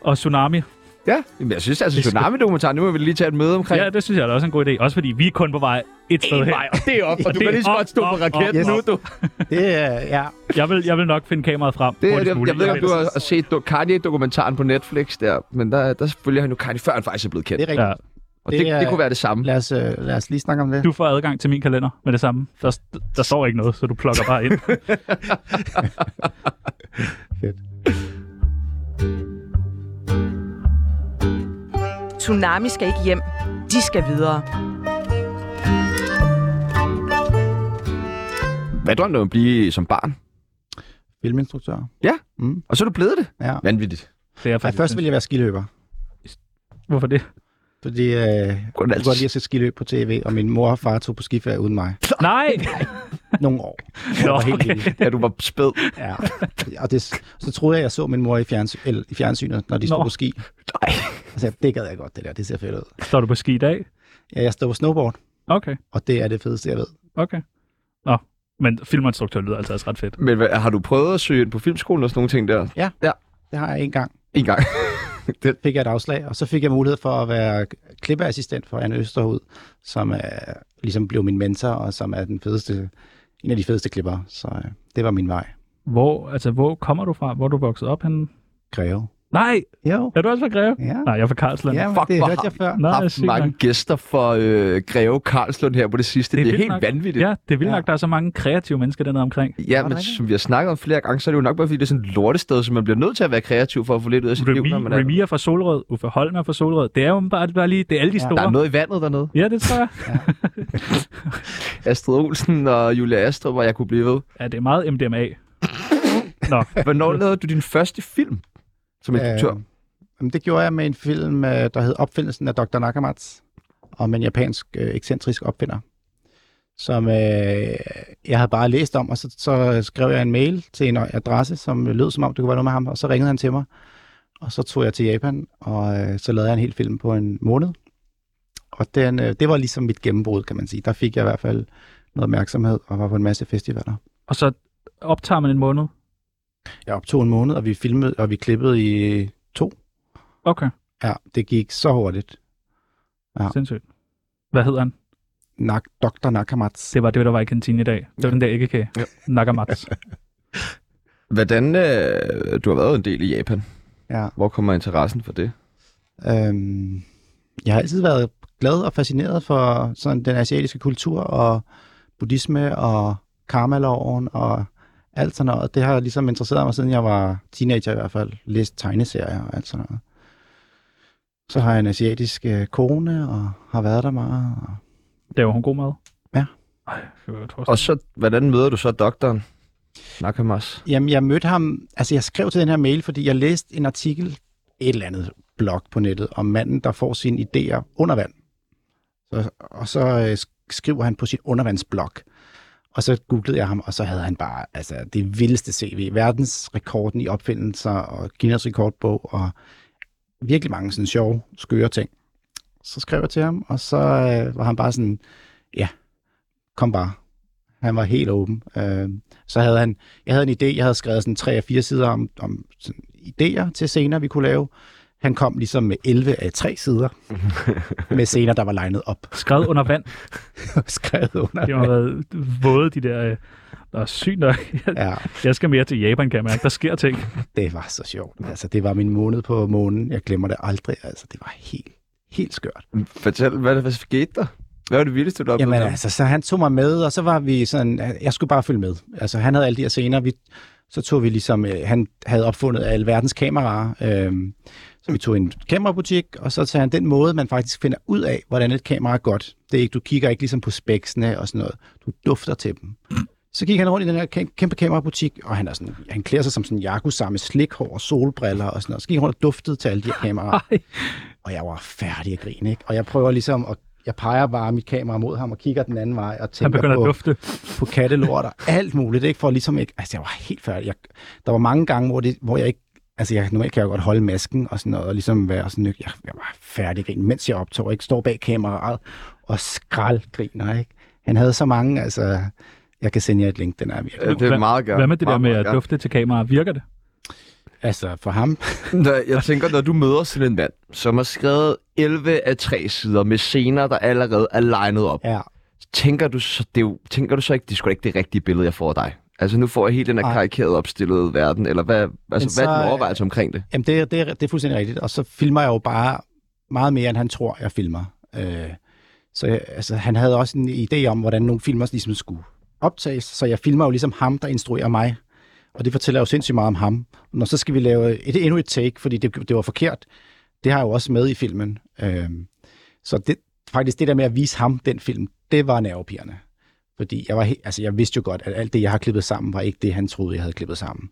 S3: og Tsunami.
S1: Ja, jamen, jeg synes altså, tsunami-dokumentaren, nu må vi lige tage et møde omkring.
S3: Ja, det synes jeg da også er en god idé. Også fordi vi er kun på vej et sted hen.
S1: og det er op,
S3: Og det er op, op, op,
S4: op.
S1: du.
S4: det er... Øh, ja.
S3: Jeg vil, jeg vil nok finde kameraet frem.
S1: Det, jeg,
S3: hurtigst
S1: jeg,
S3: muligt.
S1: jeg ved ikke, om du har set do- Kanye-dokumentaren på Netflix der, men der, der følger han jo Kanye, før han faktisk er blevet kendt.
S4: Det er rigtigt.
S3: Ja,
S4: Ja.
S1: og det,
S4: det
S1: det,
S4: er-
S1: det kunne være det samme.
S4: Lad, os, øh, lad os lige snakke om det.
S3: du får adgang til min kalender med det samme. Der, der står ikke noget, så du plukker bare ind.
S5: Tsunami skal ikke hjem. De skal videre.
S1: Hvad drømte du om at blive som barn?
S4: Filminstruktør.
S1: Og så er du blevet det.
S4: Ja.
S1: Vanvittigt.
S3: Det er
S4: Ej, først ville jeg være skiløber.
S3: Hvorfor det?
S4: Fordi øh, jeg kunne
S1: altid-
S4: godt lide at se skiløb på tv, og min mor og far tog på skiferie uden mig.
S3: Nej!
S4: Nogle år.
S3: (laughs) Nå,
S4: var helt
S3: okay.
S4: lille.
S1: Ja, du var spæd.
S4: Ja, (laughs) og det, så troede jeg, at jeg så min mor i, fjerns, eller, i fjernsynet, når de stod
S3: Nå.
S4: på ski.
S1: Nej.
S4: Altså, det gad jeg godt, det der. Det ser fedt ud.
S3: Står du på ski i dag?
S4: Ja, jeg stod på snowboard,
S3: Okay,
S4: og det er det fedeste, jeg ved.
S3: okay. Nå, men filminstruktør lyder altså også ret fedt.
S1: Men hvad, har du prøvet at søge ind på filmskolen og sådan nogle ting der?
S4: Det har jeg en gang.
S1: En gang. det,
S4: Fik jeg et afslag, og så fik jeg mulighed for at være klippeassistent for Anne Østerhud, som er, ligesom blev min mentor, og som er den fedeste, en af de fedeste klipper. Så øh, det var min vej.
S3: Hvor, altså, hvor kommer du fra? Hvor er du vokset op henne?
S4: Greve.
S3: Nej!
S4: Jo.
S3: Er du også fra Greve?
S4: Ja,
S3: Nej, jeg er fra Carlsland.
S4: ja
S1: Fuck,
S4: Fuck, det
S1: hvor
S4: hørte
S1: har-
S4: jeg før.
S3: Nå,
S1: har haft
S3: sygt
S1: mange
S3: nok.
S1: gæster fra øh, Greve Karlslund her på det sidste. Det er, det er
S3: vildt
S1: helt
S3: nok.
S1: vanvittigt.
S3: Ja, det er vildt
S4: Ja.
S3: nok, der er så mange kreative mennesker dernede omkring.
S1: Ja, men som vi har snakket om flere gange, så er det jo nok bare, fordi det er sådan et lortested, så man bliver nødt til at være kreativ for at få lidt ud af sit liv,
S3: Remi,
S1: når man er...
S3: Remi er fra Solrød, Uffe Holm er fra Solrød. Det er jo bare, bare lige, det er alle de
S4: Ja.
S3: store.
S1: Der er noget i vandet dernede.
S3: Ja, det tror jeg.
S1: Astrid Olsen og Julia Astrup, og jeg kunne blive ved.
S3: Ja, det er meget MDMA. Nå, (laughs)
S1: Hvornår lavede du din første film som instruktør?
S4: Øh, jamen, det gjorde jeg med en film, øh, der hed Opfindelsen af Dr. Nakamatsu, om en japansk øh, ekscentrisk opfinder, som øh, jeg havde bare læst om, og så, så skrev jeg en mail til en adresse, som lød som om, det kunne være noget med ham, og så ringede han til mig, og så tog jeg til Japan, og øh, så lavede jeg en hel film på en måned. Og den, øh, det var ligesom mit gennembrud, kan man sige. Der fik jeg i hvert fald noget opmærksomhed, og var på en masse festivaler.
S3: og så optager man en måned.
S4: Jeg optog en måned, og vi filmede, og vi klippede i to
S3: Okay,
S4: Ja, det gik så hurtigt.
S3: ja.
S4: Ja.
S3: sindssygt. Hvad hedder han?
S4: Nak, Dr. Nakamatsu.
S3: Det var det, der var i kantinen i dag. Det var den der æggekage. Ja. Nakamats.
S1: Hvordan, øh, du har været en del i Japan.
S4: Ja.
S1: Hvor kommer interessen for det?
S4: Øhm, jeg har altid været glad og fascineret for sådan den asiatiske kultur og buddhisme og karmaloven og alt sådan noget. Det har ligesom interesseret mig, siden jeg var teenager i hvert fald. Læst tegneserier og alt sådan noget. Så har jeg en asiatisk øh, kone og har været der meget. Og
S3: Laver hun god mad?
S4: Ja.
S3: Ej, det var godt
S1: Og så, hvordan møder du så doktoren? Nakamas.
S4: Jamen, jeg mødte ham, altså jeg skrev til den her mail, fordi jeg læste en artikel, et eller andet blog på nettet, om manden, der får sine idéer under vand. Så, og så øh, sk- skriver han på sin undervandsblog. Og så googlede jeg ham, og så havde han bare altså, det vildeste CV. Verdensrekorden i opfindelser og Guinness rekordbog og virkelig mange sådan sjove, skøre ting. Så skrev jeg til ham, og så øh, var han bare sådan, ja, kom bare. Han var helt åben. Øh, så havde han jeg havde en idé, jeg havde skrevet sådan tre af fire sider om, om sådan idéer til scener, vi kunne lave. Han kom ligesom med 11 af tre sider med scener, der var legnet op
S3: Skrevet under vand.
S4: og skrevet under.
S3: Det har været våde, de der... øh, Der er sygt nok.
S4: Ja,
S3: Jeg skal mere til Japan, kan jeg mærke. Der sker ting.
S4: det var så sjovt. Altså, det var min måned på månen. Jeg glemmer det aldrig. Altså, det var helt, helt skørt.
S1: Fortæl, hvad, hvad skete der? Hvad var det vildeste, du oplevede?
S4: Jamen
S1: der?
S4: altså, så han tog mig med, og så var vi sådan, øh, jeg skulle bare følge med. Altså, han havde alle de her scener, vi, så tog vi ligesom, øh, han havde opfundet alverdens kameraer, øh, så vi tog en kamerabutik, og så tager han den måde, man faktisk finder ud af, hvordan et kamera er godt. Det er ikke, du kigger ikke ligesom på spæksene og sådan noget, du dufter til dem. Så gik han rundt i den her kæm- kæmpe kamerabutik, og han, er sådan, han klæder sig som sådan en yakuza med slikhår og solbriller og sådan noget. Så gik han rundt og duftede til alle de her kameraer.
S3: Ej.
S4: Og jeg var færdig at grine, ikke? Og jeg prøver ligesom at jeg peger bare mit kamera mod ham og kigger den anden vej og
S3: Han
S4: tænker
S3: begynder at
S4: på,
S3: dufte.
S4: på kattelort og alt muligt, ikke? For ligesom ikke... Altså, jeg var helt færdig. Jeg, der var mange gange, hvor, det, hvor jeg ikke... Altså, jeg, normalt kan jeg jo godt holde masken og sådan noget, og ligesom være sådan... Jeg, jeg var færdig at grine, mens jeg optog, ikke? Står bag kameraet og skraldgriner, ikke? Han havde så mange, altså... Jeg kan sende jer et link, den er virkelig.
S1: Ja, det er
S3: Hvad-
S1: meget gerne.
S3: Hvad med det der
S1: meget,
S3: med
S1: meget
S3: at dufte til kamera? Virker det?
S4: Altså, for ham...
S1: gerne. Nå, Jeg tænker, når du møder sådan en mand, som har skrevet 11 af 3 sider med scener, der allerede er legnet op,
S4: Ja,
S1: tænker du så, det er jo, tænker du så ikke, det er sgu da ikke det rigtige billede, jeg får af dig? Altså nu får jeg helt den her
S4: Ej.
S1: karikerede opstillede verden, eller hvad, altså,
S4: så,
S1: hvad er din
S4: øh,
S1: overvejelse omkring det?
S4: Jamen, det, er- det, er- det er fuldstændig rigtigt. Og så filmer jeg jo bare meget mere, end han tror, jeg filmer. Øh, så jeg- altså, han havde også en idé om, hvordan nogle filmer ligesom skulle optages. Så jeg filmer jo ligesom ham, der instruerer mig. Og det fortæller jo sindssygt meget om ham. Når så skal vi lave et, endnu et take, fordi det, det var forkert. Det har jeg jo også med i filmen. Øh, så det, faktisk det der med at vise ham den film, det var nervepirrende. Fordi jeg, var he- altså, jeg vidste jo godt, at alt det, jeg har klippet sammen, var ikke det, han troede, jeg havde klippet sammen.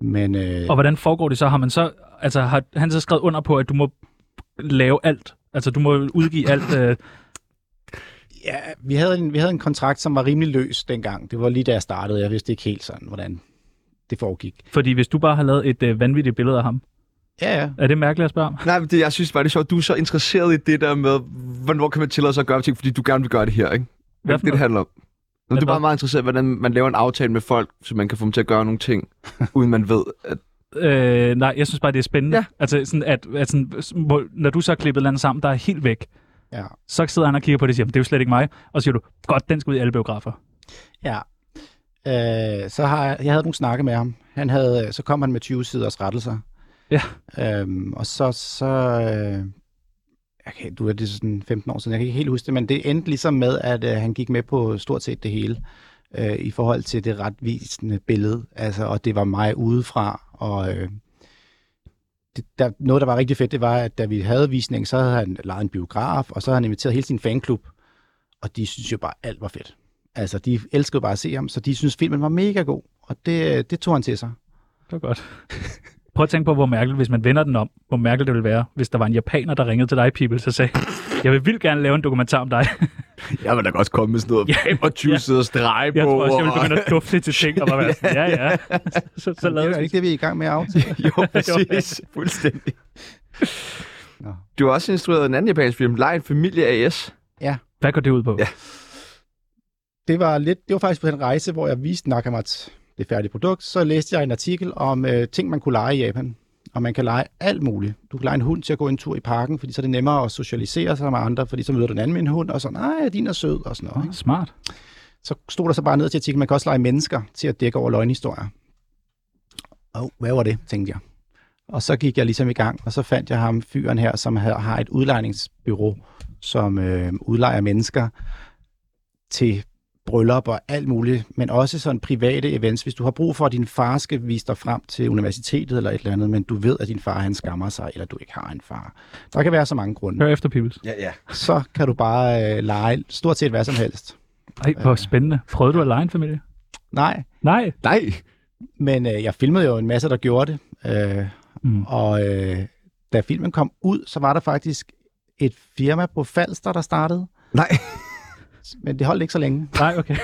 S4: Men, øh,
S3: Og hvordan foregår det så? Har man så, altså, har han så skrevet under på, at du må lave alt? Altså, du må udgive alt. Øh,
S4: Ja, vi havde, en, vi havde en kontrakt, som var rimelig løs dengang. Det var lige da jeg startede. Jeg vidste ikke helt sådan, hvordan det foregik.
S3: fordi hvis du bare har lavet et øh, vanvittigt billede af ham,
S4: Ja, ja.
S3: er det mærkeligt at spørge om?
S1: Nej, men det, jeg synes bare, det er sjovt, du er så interesseret i det der med, hvornår kan man tillade sig at gøre ting, fordi du gerne vil gøre det her, ikke? Hvad
S3: Hvad
S1: er
S3: for
S1: det, det
S3: noget?
S1: handler om? Nå,
S3: Hvad
S1: du er bare
S3: for-
S1: meget interesseret i, hvordan man laver en aftale med folk, så man kan få dem til at gøre nogle
S3: (laughs)
S1: ting, uden man ved, at...
S3: Øh, nej, jeg synes bare, det er spændende.
S1: Ja.
S3: Altså, sådan at, at sådan, må- når du så har klippet et eller andet sammen, der er helt væk,
S4: Ja.
S3: så sidder han og kigger på det og siger, "Men det er jo slet ikke mig. Og så siger du, godt, den skal ud i alle biografer.
S4: Øh, så har jeg, jeg havde nogle snakke med ham. Han havde, øh, så kom han med 20 siders rettelser.
S3: Ja.
S4: Øhm, og så, så øh, okay, du er det er sådan 15 år siden, jeg kan ikke helt huske det, men det endte ligesom med, at øh, han gik med på stort set det hele øh, i forhold til det retvisende billede. Altså, og det var mig udefra, og øh, det, der, noget, der var rigtig fedt, det var, at da vi havde visning, så havde han lejet en biograf, og så havde han inviteret hele sin fanklub, og de synes jo bare, alt var fedt. Altså, de elskede bare at se ham, så de synes filmen var mega god. Og det, det tog han til sig.
S3: Det var godt. (laughs) Prøv at tænke på, hvor mærkeligt, hvis man vender den om, hvor mærkeligt det ville være, hvis der var en japaner, der ringede til dig, People, så sagde, jeg vil vildt gerne lave en dokumentar om dig.
S1: Jeg vil da godt komme med sådan noget 25
S3: ja.
S1: sidder streg på.
S3: Jeg tror også, jeg ville
S1: og-
S3: begynde at dufte til ting, og bare være sådan, ja, ja. (laughs) Så, så
S4: Det
S3: lavede
S4: er jo
S3: vi
S4: ikke det, vi er i gang med at aftale.
S1: jo, præcis. Fuldstændig.
S4: Nå.
S1: Du har også instrueret en anden japansk film, Lejen Familie AS.
S3: Hvad går det ud på?
S1: Ja.
S4: Det var, lidt, det var faktisk på den rejse, hvor jeg viste Nakamatsu det færdige produkt. Så læste jeg en artikel om øh, ting, man kunne lege i Japan. Og man kan lege alt muligt. Du kan lege en hund til at gå en tur i parken, fordi så er det nemmere at socialisere sig med andre, fordi så møder du en anden med en hund, og så, nej, din er sød, og sådan noget. Ikke?
S3: Smart.
S4: så stod der så bare ned til artiklen, man kan også lege mennesker til at dække over løgnhistorier. Og oh, hvad var det, tænkte jeg. Og så gik jeg ligesom i gang, og så fandt jeg ham, fyren her, som havde, har et udlejningsbyrå, som øh, udlejer mennesker til bryllup og alt muligt, men også sådan private events. Hvis du har brug for, at din far skal vise dig frem til universitetet eller et eller andet, men du ved, at din far han skammer sig, eller du ikke har en far. Der kan være så mange grunde.
S3: Hør efter, Peoples.
S1: Ja, ja.
S4: Så kan du bare øh, lege stort set hvad som helst.
S3: Ej, hvor spændende. Prøvede du at lege en familie?
S4: Nej,
S3: Nej.
S1: Nej.
S4: Men øh, jeg filmede jo en masse, der gjorde det. Øh,
S3: Mm.
S4: mm. Og øh, da filmen kom ud, så var der faktisk et firma på Falster, der startede.
S1: Nej.
S4: Men det holdt ikke så længe.
S3: Nej, okay.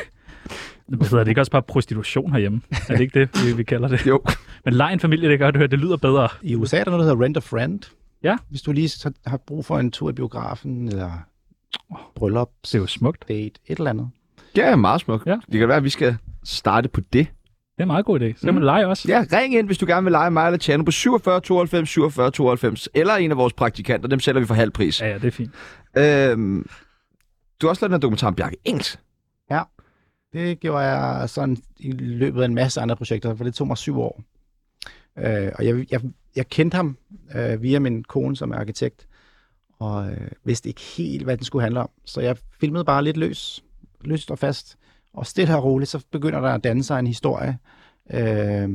S3: Det hedder det ikke også bare prostitution herhjemme? Er det ikke det, vi, vi kalder det?
S1: Jo.
S3: Men lege en familie, det gør du, det lyder bedre.
S4: I USA er der noget, der hedder Rent a Friend.
S3: Ja.
S4: Hvis du lige så har brug for en tur i biografen, eller bryllup,
S3: Det er jo smukt.
S4: date, et eller andet.
S1: Ja, meget smukt.
S3: Ja.
S1: Det kan være, at vi skal starte på det.
S3: Det er en meget god idé. Så kan man lege også.
S1: Ja, ring ind, hvis du gerne vil lege mig eller Tjerno på 47 92 47 92, eller en af vores praktikanter. Dem sælger vi for halv pris.
S3: Ja, ja, det er fint.
S1: Ja. Øhm, du har også lavet en dokumentar om Bjarke Engels.
S4: Det gjorde jeg sådan i løbet af en masse andre projekter, for det tog mig syv år. Øh, og jeg, jeg, jeg kendte ham øh, via min kone, som er arkitekt, og øh, vidste ikke helt, hvad den skulle handle om. Så jeg filmede bare lidt løs, løst og fast, og stille og roligt, så begynder der at danne sig en historie. Øh,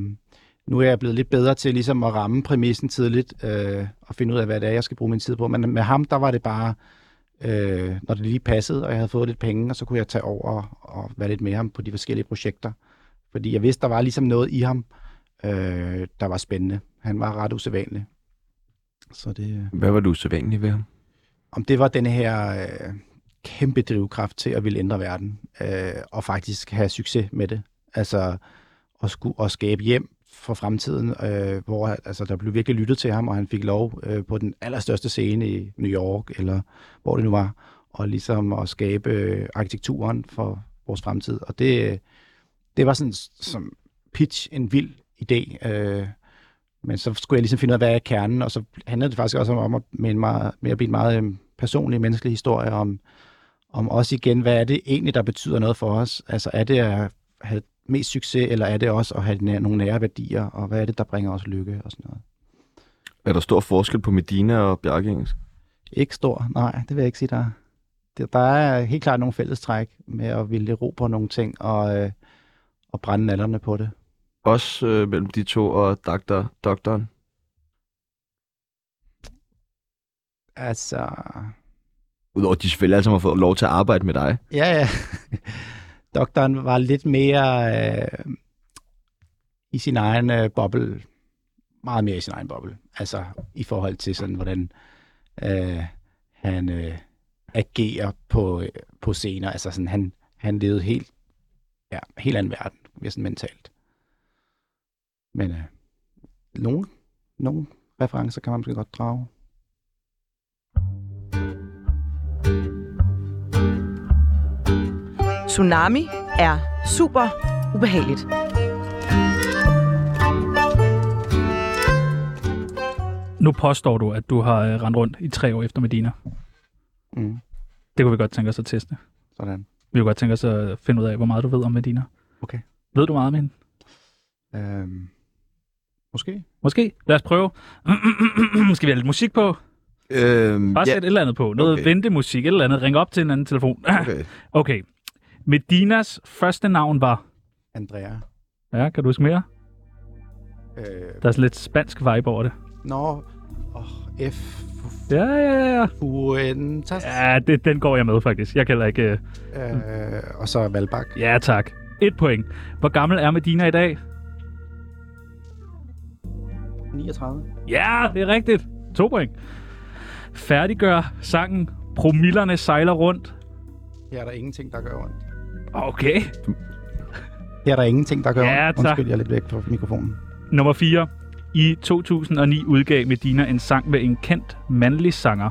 S4: nu er jeg blevet lidt bedre til ligesom at ramme præmissen tidligt, øh, og finde ud af, hvad det er, jeg skal bruge min tid på. Men med ham, der var det bare øh, når det lige passede, og jeg havde fået lidt penge, og så kunne jeg tage over og være lidt med ham på de forskellige projekter. Fordi jeg vidste, der var ligesom noget i ham, øh, der var spændende. Han var ret usædvanlig. Så det... øh,
S1: Hvad var du så vanlig ved ham?
S4: Om det var den her øh, kæmpe drivkraft til at ville ændre verden, øh, og faktisk have succes med det. Altså at, skulle, at skabe hjem for fremtiden, øh, hvor altså, der blev virkelig lyttet til ham, og han fik lov øh, på den allerstørste scene i New York, eller hvor det nu var, og ligesom at skabe øh, arkitekturen for vores fremtid. Og det, øh, det var sådan s- som pitch en vild idé. Øh, men så skulle jeg ligesom finde ud af, hvad er kernen, og så handlede det faktisk også om, om at, med en meget, med at blive en meget øh, personlig menneskelig historie, om, om også igen, hvad er det egentlig, der betyder noget for os? Altså er det at have mest succes, eller er det også at have næ- nogle nære værdier, og hvad er det, der bringer os lykke og sådan noget?
S1: Er der stor forskel på Medina og Bjarke Engels?
S4: Ikke stor, nej, det vil jeg ikke sige, der er. Der- Der er helt klart nogle fællestræk med at ville erobre nogle ting og, øh, og brænde nallerne på det.
S1: Også øh, mellem de to og doktor, doktoren.
S4: Altså,
S1: Udover at de selvfølgelig alle sammen har fået lov til at arbejde med dig.
S4: ja, ja. Doktoren var lidt mere øh, i sin egen øh, boble. Meget mere i sin egen boble. Altså, i forhold til sådan, hvordan øh, han øh, agerer på, øh, på scener. Altså, sådan, han, han levede helt, ja, helt anden verden, mere sådan mentalt. Men øh, nogle, nogle referencer kan man måske godt drage.
S5: Tsunami er super ubehageligt.
S3: Nu påstår du, at du har øh, rendt rundt i tre år efter Medina.
S4: Mm.
S3: Det kunne vi godt tænke os at teste.
S4: Sådan.
S3: Vi kunne godt tænke os at finde ud af, hvor meget du ved om Medina.
S4: Okay.
S3: Ved du meget om hende?
S4: Øhm, måske.
S3: Måske. Lad os prøve. (clears throat) Skal vi have lidt musik på?
S1: Øhm,
S3: Bare
S1: (laughs)
S3: sæt et eller andet på. Noget
S1: Okay.
S3: okay. ventemusik, et eller andet. Ring op til en anden telefon. (clears throat)
S1: okay.
S3: okay. Medinas første navn var...
S4: Andrea.
S3: Ja, kan du huske mere?
S4: Øh,
S3: Der er sådan lidt spansk vibe over det.
S4: Nå, oh, F.
S3: Ja, ja, ja.
S4: Fuentes.
S3: Ja, det, den går jeg med faktisk. Jeg kan heller ikke... øh,
S4: Øh, og så Valbak.
S3: Ja, tak. Et point. Hvor gammel er Medina i dag?
S4: 39.
S3: Ja, det er rigtigt. To point. Færdiggør sangen Promillerne sejler rundt.
S4: Her er der ingenting, der gør ondt.
S3: Okay.
S4: Her er der ingenting, der gør
S3: Ja,
S4: ondt.
S3: tak.
S4: Undskyld, jeg er lidt væk fra mikrofonen.
S3: Nummer 4. I 2009 udgav Medina en sang med en kendt mandlig sanger.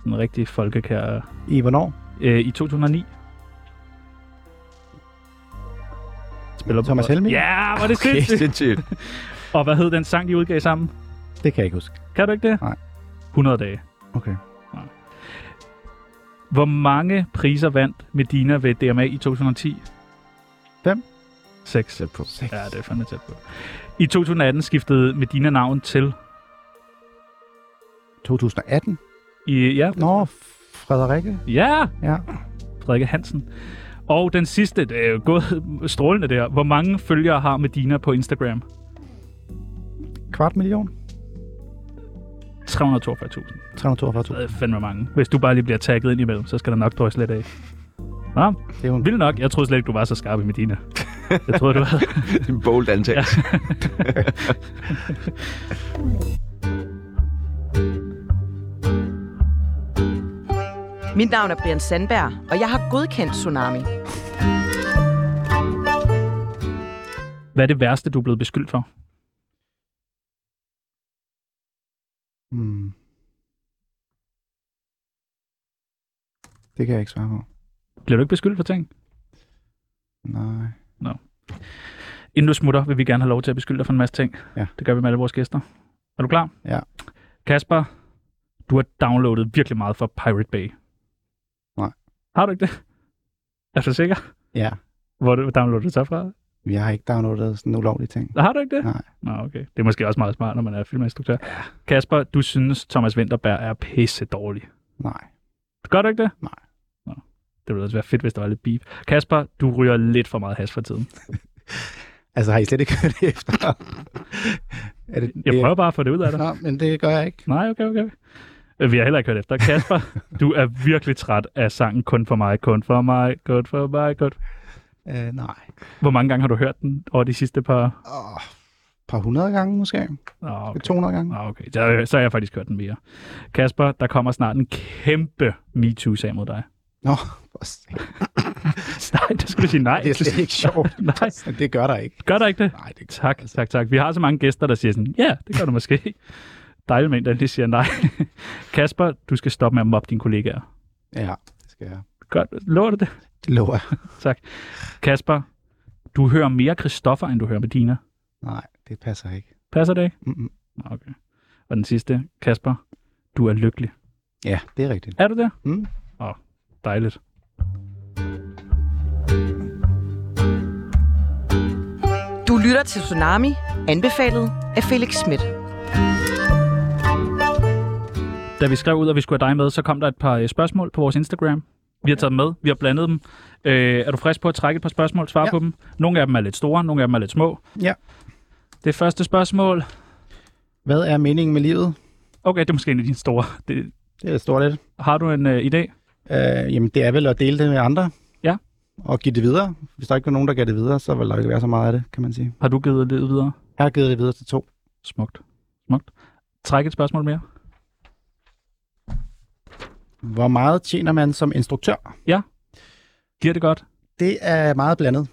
S3: Sådan en rigtig folkekær.
S4: I hvornår?
S3: Øh, I 2009.
S4: Spiller Thomas Helmi?
S3: Ja, var det okay.
S1: Okay,
S3: sindssygt.
S1: sindssygt.
S3: Og hvad hed den sang, de udgav sammen?
S4: Det kan jeg ikke huske.
S3: Kan du ikke det?
S4: Nej.
S3: 100 dage.
S4: Okay.
S3: Hvor mange priser vandt Medina ved DMA i 2010?
S4: Fem.
S3: 6.
S1: Sæt på.
S3: Ja, det er fandme tæt på. I 2018 skiftede Medina navn til...
S4: 2018?
S3: I, ja,
S4: Nå, Frederikke.
S3: ja,
S4: Ja.
S3: Frederikke Hansen. Og den sidste, det er jo gået strålende der. Hvor mange følgere har Medina på Instagram?
S4: Kvart million?
S3: 342.000.
S4: 342.
S3: Det er fandme mange. Hvis du bare lige bliver tagget ind imellem, så skal der nok drøse lidt af. Nå,
S4: Det er jo en
S3: vildt nok. Jeg troede slet ikke, du var så skarp i Medina. Jeg troede, du havde...
S1: Det er en bold antagelse.
S5: Mit navn er Brian Sandberg, og jeg har godkendt Tsunami.
S3: Hvad er det værste, du er blevet beskyldt for?
S4: Hmm. Det kan jeg ikke svare på.
S3: Bliver du ikke beskyldt for ting?
S4: Nej.
S3: Inden du smutter, vil vi gerne have lov til at beskylde dig for en masse ting.
S4: Ja.
S3: Det gør vi med alle vores gæster. Er du klar?
S4: Ja.
S3: Kasper, du har downloadet virkelig meget fra Pirate Bay.
S4: Nej.
S3: Har du ikke det? Er du sikker?
S4: Ja.
S3: Hvor du- downloadede du så fra?
S4: Jeg har ikke downloadet sådan ulovlige ting.
S3: Har du ikke det?
S4: Nej.
S3: Nå, okay. Det er måske også meget smart, når man er filminstruktør. Ja. Kasper, du synes, Thomas Winterberg er pisse dårlig.
S4: Nej.
S3: Gør du ikke det?
S4: Nej.
S3: Nå. Det ville også være fedt, hvis der var lidt beef. Kasper, du ryger lidt for meget has for tiden.
S4: Altså, har I slet ikke (laughs) hørt det efter? er det,
S3: Jeg prøver bare at få det ud af dig.
S4: det. Nå, men det gør jeg ikke.
S3: Nej, okay, okay. Øh, Vi har heller ikke hørt efter. Kasper, (laughs) du er virkelig træt af sangen Kun for mig, kun for mig, kun for mig, kun.
S4: Øh, nej.
S3: Hvor mange gange har du hørt den over de sidste par...
S4: Åh, par hundrede gange måske. Okay.
S3: Oh, okay.
S4: 200 gange.
S3: Ah, okay. Så, så har jeg faktisk hørt den mere. Kasper, der kommer snart en kæmpe MeToo-sag mod dig.
S4: Nå, for satan.
S3: (laughs) Nej, det skulle du sige nej.
S4: det er slet ikke sjovt.
S3: (laughs) Nej,
S4: Men det gør der ikke.
S3: gør der ikke det?
S4: Nej, det gør altså-
S3: Tak, tak, tak. Vi har så mange gæster, der siger sådan, ja, det gør du måske. Dejligt med en, der lige siger nej. (laughs) Kasper, du skal stoppe med at mobbe dine kollegaer.
S4: Ja, det skal jeg.
S3: Godt, lover du det?
S4: Det lover jeg.
S3: Kasper, du hører mere Christoffer, end du hører Medina.
S4: Nej, det passer ikke.
S3: Passer det ikke?
S4: Mm-mm.
S3: Nå, Okay. Og den sidste, Kasper, du er lykkelig.
S4: Ja, det er rigtigt.
S3: Er du det?
S4: Mm.
S3: Åh, dejligt.
S5: Du lytter til Tsunami, anbefalet af Felix Schmidt.
S3: Da vi skrev ud, at vi skulle have dig med, så kom der et par øh, spørgsmål på vores Instagram. Vi har taget dem med, vi har blandet dem. Øh, er du frisk på at trække et par spørgsmål, svare ja.
S4: Ja.
S3: på dem? Nogle af dem er lidt store, nogle af dem er lidt små.
S4: Ja.
S3: Det første spørgsmål.
S4: Hvad er meningen med livet?
S3: Okay, det er måske en af dine store. Det,
S4: Det er stort lidt.
S3: har du en øh, idé?
S4: Øh, jamen, det er vel at dele det med andre.
S3: Ja.
S4: Og give det videre. Hvis der ikke er nogen, der gav det videre, så vil der ikke være så meget af det, kan man sige.
S3: Har du givet livet videre?
S4: Jeg har givet det videre til to.
S3: Smukt. Smukt. Træk et spørgsmål mere.
S4: Hvor meget tjener man som instruktør?
S3: Giver det godt?
S4: Det er meget blandet.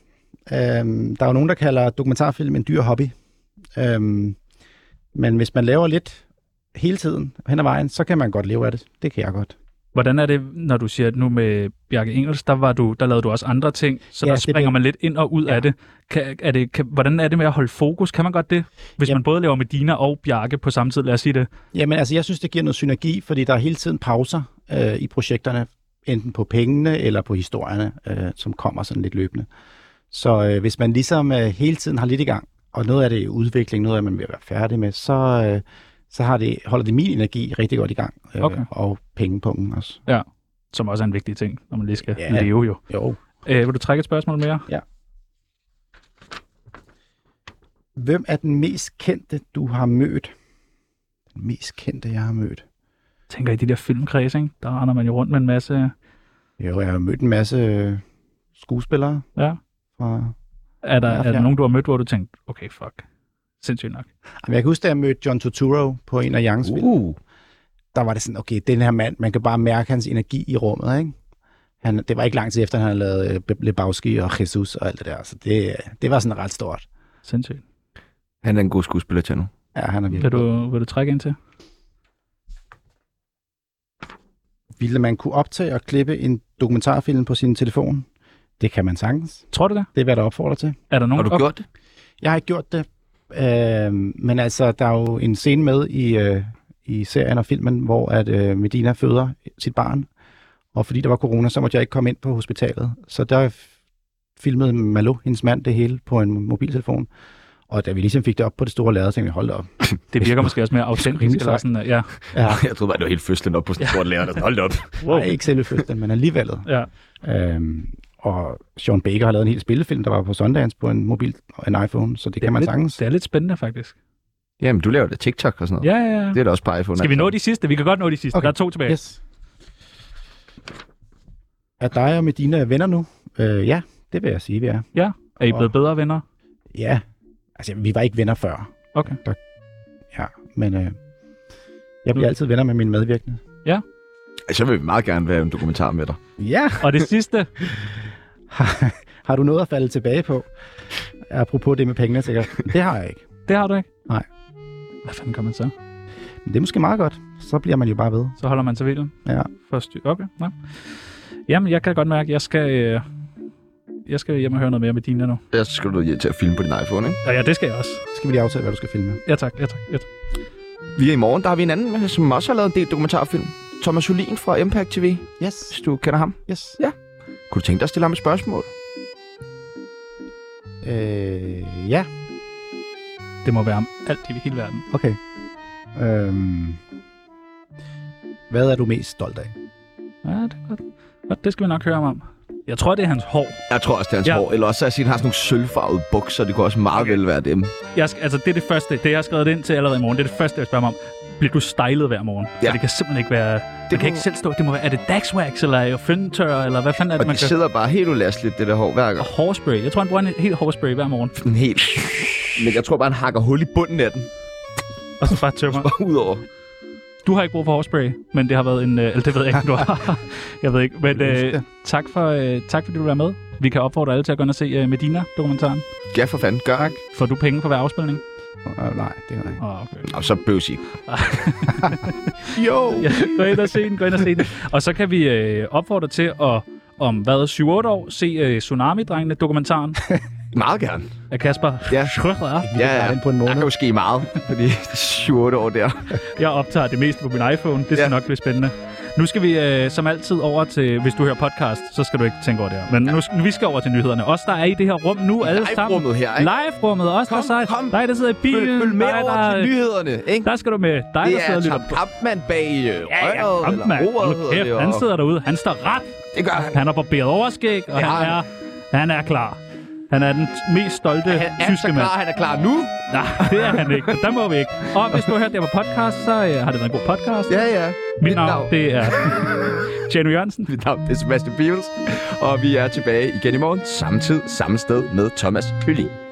S4: Øhm, der er jo nogen, der kalder dokumentarfilm en dyr hobby. Øhm, men hvis man laver lidt hele tiden hen ad vejen, så kan man godt leve af det. Det kan jeg godt.
S3: Hvordan er det, når du siger, at nu med Bjarke Engels, der, var du, der lavede du også andre ting, så ja,
S4: Ja,
S3: der
S4: det
S3: springer
S4: blev-
S3: man lidt ind og ud ja. af det. Kan, er det kan, hvordan er det med at holde fokus? Kan man godt det, hvis
S4: Jamen-
S3: man både laver med Dina og Bjarke på samme tid? Lad os sige det.
S4: Jamen altså, jeg synes, det giver noget synergi, fordi der er hele tiden pauser øh, i projekterne, enten på pengene eller på historierne, øh, som kommer sådan lidt løbende. Så øh, hvis man ligesom øh, hele tiden har lidt i gang, og noget af det er udvikling, noget af man vil være færdig med, så, øh, så har det, holder det min energi rigtig godt i gang. Øh,
S3: Okay.
S4: Og pengepungen også.
S3: Som også er en vigtig ting, når man lige skal ja.
S4: Ja.
S3: leve jo.
S4: Jo.
S3: Øh, vil du trække et spørgsmål mere?
S4: Hvem er den mest kendte, du har mødt? Den mest kendte, jeg har mødt?
S3: tænker i de der filmkreds, ikke? der render man jo rundt med en masse...
S4: Jo, jeg har mødt en masse øh, skuespillere
S3: Ja.
S4: fra
S3: Er der,
S4: Ja,
S3: ja, er der
S4: ja.
S3: nogen, du har mødt, hvor du tænkte, okay, fuck, sindssygt nok.
S4: Jamen, jeg kan huske, da jeg mødte John Turturro på en af Youngs film.
S1: Uh.
S4: Der var det sådan, okay, den her mand, man kan bare mærke hans energi i rummet, ikke? Han, det var ikke lang tid efter, han havde lavet øh, Be- Lebowski og Jesus og alt det der. Så det, øh, det var sådan ret stort.
S3: Sindssygt.
S1: Han er en god skuespiller, Tjerno.
S4: Ja, han er
S3: Vil
S4: virkelig. god.
S3: du, vil du trække ind til?
S4: Ville man kunne optage og klippe en dokumentarfilm på sin telefon? Det kan man sagtens.
S3: Tror du det?
S4: Det er, hvad der opfordrer til.
S3: Er der nogen,
S1: Har du
S3: op-
S1: gjort det?
S4: Jeg har ikke gjort det, øh, men altså, der er jo en scene med i, øh, i serien og filmen, hvor at øh, Medina føder sit barn, og fordi der var corona, så måtte jeg ikke komme ind på hospitalet. Så der f- filmede Malo, hendes mand, det hele på en mobiltelefon. Og da vi ligesom fik det op på det store lærred, tænkte vi, hold da op.
S3: Det virker måske også mere autentisk.
S4: rimelig
S3: Eller
S4: sejt.
S3: sådan, ja.
S4: Ja,
S1: Jeg troede bare, det var helt fødslen op på sådan en sort lærer. der- Hold da op.
S4: wow. ikke selve fødslen, men alligevel.
S3: ja.
S4: Øhm, og Sean Baker har lavet en hel spillefilm, der var på Sundance på en mobil en iPhone, så det, det kan man
S3: lidt,
S4: sagtens.
S3: Det er lidt spændende, faktisk.
S1: (laughs) Jamen, du laver da TikTok og sådan noget.
S3: Ja, ja, ja.
S1: Det er da også på iPhone.
S3: Skal vi
S1: altså.
S3: nå de sidste? Vi kan godt nå de sidste. Okay.
S4: Okay.
S3: Der er to tilbage. Yes.
S4: Yes. Er dig og Medina venner nu? Øh, ja, det vil jeg sige, vi er.
S3: Er I blevet bedre venner?
S4: Ja, altså vi var ikke venner før.
S3: Okay.
S4: Der, ja, men øh, jeg bliver altid venner med mine medvirkende.
S1: Så vil vi meget gerne være en dokumentar med dig.
S4: Ja,
S3: Og det sidste,
S4: har du noget at falde tilbage på? Apropos det med pengene, sikkert. Det har jeg ikke.
S3: det har du ikke?
S4: Nej.
S3: Hvad fanden gør man så?
S4: Men det er måske meget godt. Så bliver man jo bare ved.
S3: Så holder man sig ved
S4: Ja.
S3: For styr. Okay, nej. Jamen, jeg kan godt mærke, at jeg skal, øh, jeg skal hjem og høre noget mere med dine nu.
S1: Jeg skal du hjem til at filme på din iPhone, ikke?
S3: Og ja, det skal jeg også.
S4: Så skal vi lige aftale, hvad du skal filme.
S3: Ja tak, ja tak, ja tak.
S1: Lige i morgen, der har vi en anden, øh, som også har lavet en del dokumentarfilm. Thomas Julin fra Impact TV,
S4: Yes,
S1: hvis du kender ham.
S4: yes.
S1: Kunne du tænke dig at stille ham et spørgsmål?
S4: Øh, ja,
S3: Det må være om alt i hele verden.
S4: okay. Øhm, hvad er du mest stolt af?
S3: Ja, det er godt. godt. Det skal vi nok høre ham om. Jeg tror, det er hans hår.
S1: Jeg tror også, det er hans
S3: Ja.
S1: ja. hår. Eller også har jeg set, at han har sådan nogle sølvfarvede bukser. Det kunne også meget okay. vel være dem.
S3: Jeg skal, altså, det er det første. Det, jeg har skrevet ind til allerede i morgen. Det er det første, jeg spørger mig om. Bliver du stylet hver morgen? Ja.
S1: Ja.
S3: For det kan simpelthen ikke være... Det man
S1: må-
S3: kan ikke selv stå. Det må være, er det Daxwax, eller er det Føntør, eller hvad fanden er
S1: Og
S3: det, man
S1: de
S3: kan...
S1: sidder bare helt ulastligt, det der hår hver gang.
S3: Og hårspray. Jeg tror, han bruger en helt hårspray hver morgen.
S1: Den helt... Men jeg tror bare, han hakker hul i bunden af den. (laughs)
S3: Og så bare tømmer.
S1: Bare ud over.
S3: Du har ikke brug for hårspray, men det har været en... Øh, eller det ved jeg ikke, om du har. (laughs) jeg ved ikke. Men
S4: Husk
S3: øh,
S4: det.
S3: tak, for, øh, tak fordi du var med. Vi kan opfordre alle til at gå ind og se øh, Medina-dokumentaren.
S1: Ja, for fanden. Gør.
S4: Tak.
S3: Får du penge for hver afspilning?
S4: Øh, nej, det er ikke.
S3: Åh, oh, okay.
S1: Og så bøvs I. (laughs) jo!
S3: Ja, gå ind og se den, gå ind og se den. Og så kan vi øh, opfordre til at om hvad, 7-8 år, se øh, Tsunami-drengene, dokumentaren
S1: Meget gerne.
S3: af Kasper
S1: Ja.
S3: Schrøder.
S1: Ja,
S4: klarer
S1: ja.
S4: den på en
S1: Der
S4: måned.
S1: kan jo ske meget på de 7 år der.
S3: Jeg optager det meste på min iPhone, det skal ja.
S1: Ja.
S3: nok blive spændende. Nu skal vi øh, som altid over til, hvis du hører podcast, så skal du ikke tænke over det her. Men ja. nu, skal- vi skal over til nyhederne. Os, der er i det her rum nu, alle sammen.
S1: Live-rummet her, ikke?
S3: Live-rummet, os, der,
S1: Kom,
S3: sej,
S1: kom.
S3: dig, der sidder i bilen.
S1: Følg, følg med
S3: dig,
S1: over
S3: der,
S1: til nyhederne, ikke?
S3: Der skal du med. Dig,
S1: Det
S3: der sidder
S1: er
S3: og lytter
S1: Tom Kampmann bag øh,
S3: Ja, ja,
S1: røret,
S3: ham, mand.
S1: eller roret,
S3: Hold
S1: hedder det,
S3: kæft, han
S1: og-
S3: sidder derude. Han står ret.
S1: Det gør han.
S3: Han har barberet overskæg, og
S1: Det har
S3: han er,
S1: han.
S3: han er klar. Han er den t- mest stolte
S1: Han er
S3: tyske
S1: så
S3: mand.
S1: klar, han er klar nu.
S3: Nej, det er han ikke. Der må vi ikke. Og hvis du har hørt det her på podcast, så øh, har det været en god podcast.
S1: Ja, ja.
S3: Mit navn, det er Tjerno Jørgensen.
S1: Mit navn det er Sebastian Pibels, og vi er tilbage igen i morgen, samme tid, samme sted med Thomas Hylling.